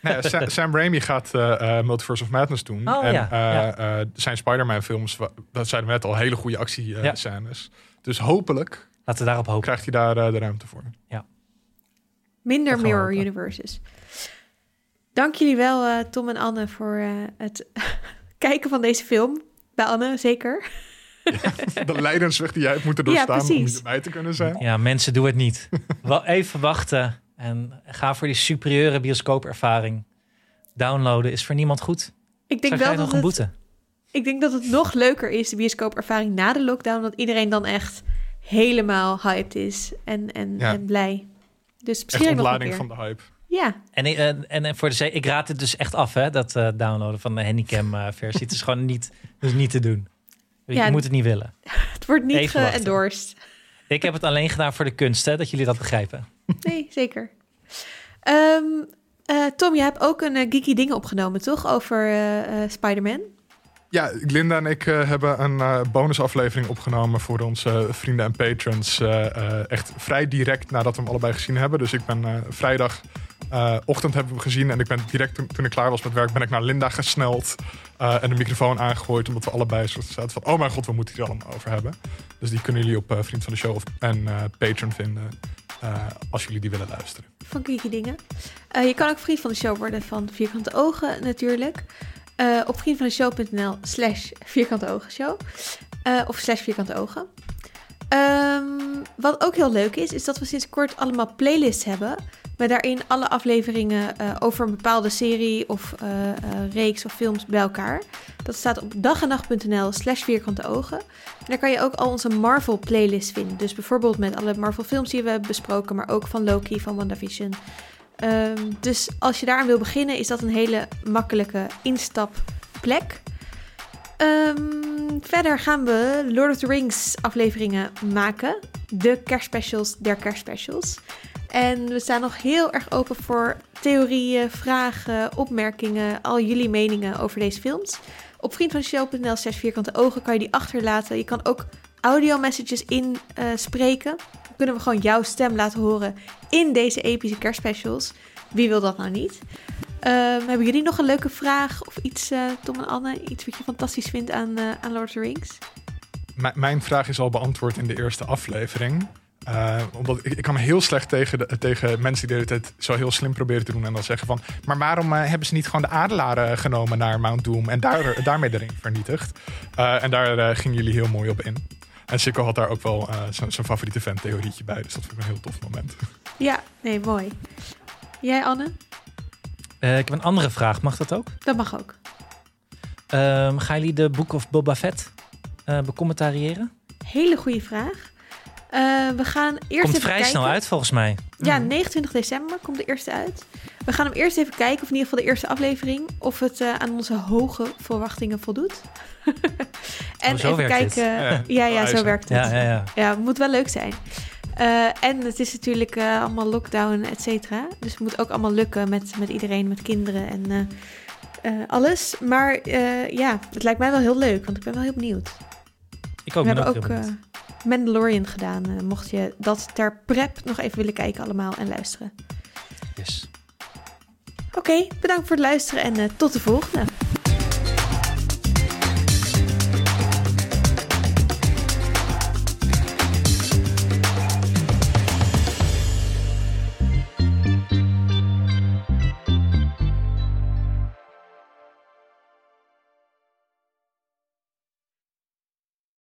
S3: Nee, Sa- Sam Raimi gaat eh, eh, Multiverse of Madness doen.
S1: Oh,
S3: en
S1: ja,
S3: eh,
S1: ja.
S3: eh, zijn Spider-Man films, wa- dat zeiden we net al, hele goede
S1: Ja.
S3: actiescènes. Dus hopelijk
S1: Laten we daarop hopen.
S3: krijgt hij daar eh, de ruimte voor.
S1: Dat
S2: Minder
S1: gaan we
S2: Mirror
S1: hopen.
S2: Universes. Dank jullie wel, eh, Tom en Anne, voor eh, het kijken van deze film. Bij Anne, zeker.
S3: De leidensweg die jij hebt moeten
S2: Ja,
S3: doorstaan om
S2: precies.
S3: hierbij te kunnen zijn.
S1: Ja, mensen, doe het niet. Wel even wachten en ga voor die superieure bioscoopervaring. Downloaden is voor niemand goed.
S2: Ik denk,
S1: Zo krijg
S2: wel
S1: je nog
S2: dat
S1: een
S2: het,
S1: boete.
S2: ik denk dat het nog leuker is, de bioscoopervaring na de lockdown. Dat iedereen dan echt helemaal hyped is en, en,
S3: Ja.
S2: en blij. Dus
S3: Echt
S2: misschien ook nog een
S3: ontlading
S2: keer.
S3: van de hype.
S2: Ja,
S1: En, ik- eh, en, en voor de zee, ik raad het dus echt af, hè, dat eh, downloaden van de Handycam-versie. het is gewoon niet, dus niet te doen. Je
S2: Ja,
S1: moet het niet willen.
S2: het wordt niet
S1: Even wachten.
S2: geëndorsed.
S1: Ik heb het alleen gedaan voor de kunst, hè, dat jullie dat begrijpen.
S2: Nee, zeker. Ehm, eh, Tom, je hebt ook een eh, geeky ding opgenomen, toch? Over eh, eh, Spider-Man.
S3: Ja, Linda en ik eh, hebben een eh, bonusaflevering opgenomen voor onze eh, vrienden en patrons. eh, eh, echt vrij direct nadat we hem allebei gezien hebben. Dus ik ben eh, vrijdag. eh, ochtend hebben we hem gezien en ik ben direct toen, toen ik klaar was met werk, ben ik naar Linda gesneld eh, en de microfoon aangegooid. Omdat we allebei soort zaten van: oh mijn god, we moeten het hier allemaal over hebben. Dus die kunnen jullie op eh, Vriend van de Show of, en eh, Patreon vinden eh, als jullie die willen luisteren.
S2: Van geeky dingen. Eh, je kan ook vriend van de show worden van Vierkante Ogen, natuurlijk. Eh, op vriendvandeshow.nl slash Vierkante Ogen Show. Eh, of slash Vierkante Ogen. Ehm, wat ook heel leuk is, is dat we sinds kort allemaal playlists hebben. Met daarin alle afleveringen eh, over een bepaalde serie of eh, eh, reeks of films bij elkaar. Dat staat op dagennacht.nl slash vierkante ogen. En daar kan je ook al onze Marvel playlist vinden. Dus bijvoorbeeld met alle Marvel films die we hebben besproken, maar ook van Loki, van WandaVision. Ehm, dus als je daaraan wil beginnen, is dat een hele makkelijke instapplek. Ehm, verder gaan we Lord of the Rings afleveringen maken. De kerstspecials der kerstspecials. En we staan nog heel erg open voor theorieën, vragen, opmerkingen, al jullie meningen over deze films. Op vriendvanshow.nl slash vierkante ogen kan je die achterlaten. Je kan ook audio messages inspreken. Dan kunnen we gewoon jouw stem laten horen in deze epische kerstspecials. Wie wil dat nou niet? Ehm, hebben jullie nog een leuke vraag of iets, eh, Tom en Anne? Iets wat je fantastisch vindt aan, eh, aan Lord of the Rings?
S3: M- mijn vraag is al beantwoord in de eerste aflevering. Eh, omdat ik, ik kan heel slecht tegen, de- tegen mensen die de hele tijd zo heel slim proberen te doen. En dan zeggen van, maar waarom eh, hebben ze niet gewoon de adelaren genomen naar Mount Doom en daar, daarmee de ring vernietigd? Eh, en daar eh, gingen jullie heel mooi op in. En Sikko had daar ook wel eh, zo- zijn favoriete fan-theorietje bij. Dus dat vond ik een heel tof moment.
S2: Ja, nee, mooi. Jij, Anne?
S1: Eh, ik heb een andere vraag, mag dat ook?
S2: Dat mag ook.
S1: Ehm, gaan jullie de Book of Boba Fett eh becommentariëren?
S2: Hele goede vraag. Eh, we gaan eerst
S1: Komt
S2: even
S1: vrij
S2: kijken.
S1: snel uit volgens mij.
S2: Ja,
S1: Mm.
S2: 29 december komt de eerste uit. We gaan hem eerst even kijken, of in ieder geval de eerste aflevering, of het eh, aan onze hoge verwachtingen voldoet. en
S1: Oh, zo
S2: even
S1: werkt het.
S2: kijken. eh, Ja, ja, zo werkt het.
S1: Ja, ja, ja.
S2: Ja, het moet wel leuk zijn. Eh, en het is natuurlijk eh, allemaal lockdown, et cetera. Dus het moet ook allemaal lukken met, met iedereen, met kinderen en eh, eh, alles. Maar eh, ja, het lijkt mij wel heel leuk, want ik ben wel heel benieuwd.
S1: Oh, Ik ook.
S2: We
S1: ben
S2: hebben
S1: ook
S2: ook
S1: heel benieuwd.
S2: eh, Mandalorian gedaan. eh, mocht je dat ter prep nog even willen kijken allemaal en luisteren.
S1: Yes.
S2: Oké, bedankt voor het luisteren en eh, tot de volgende.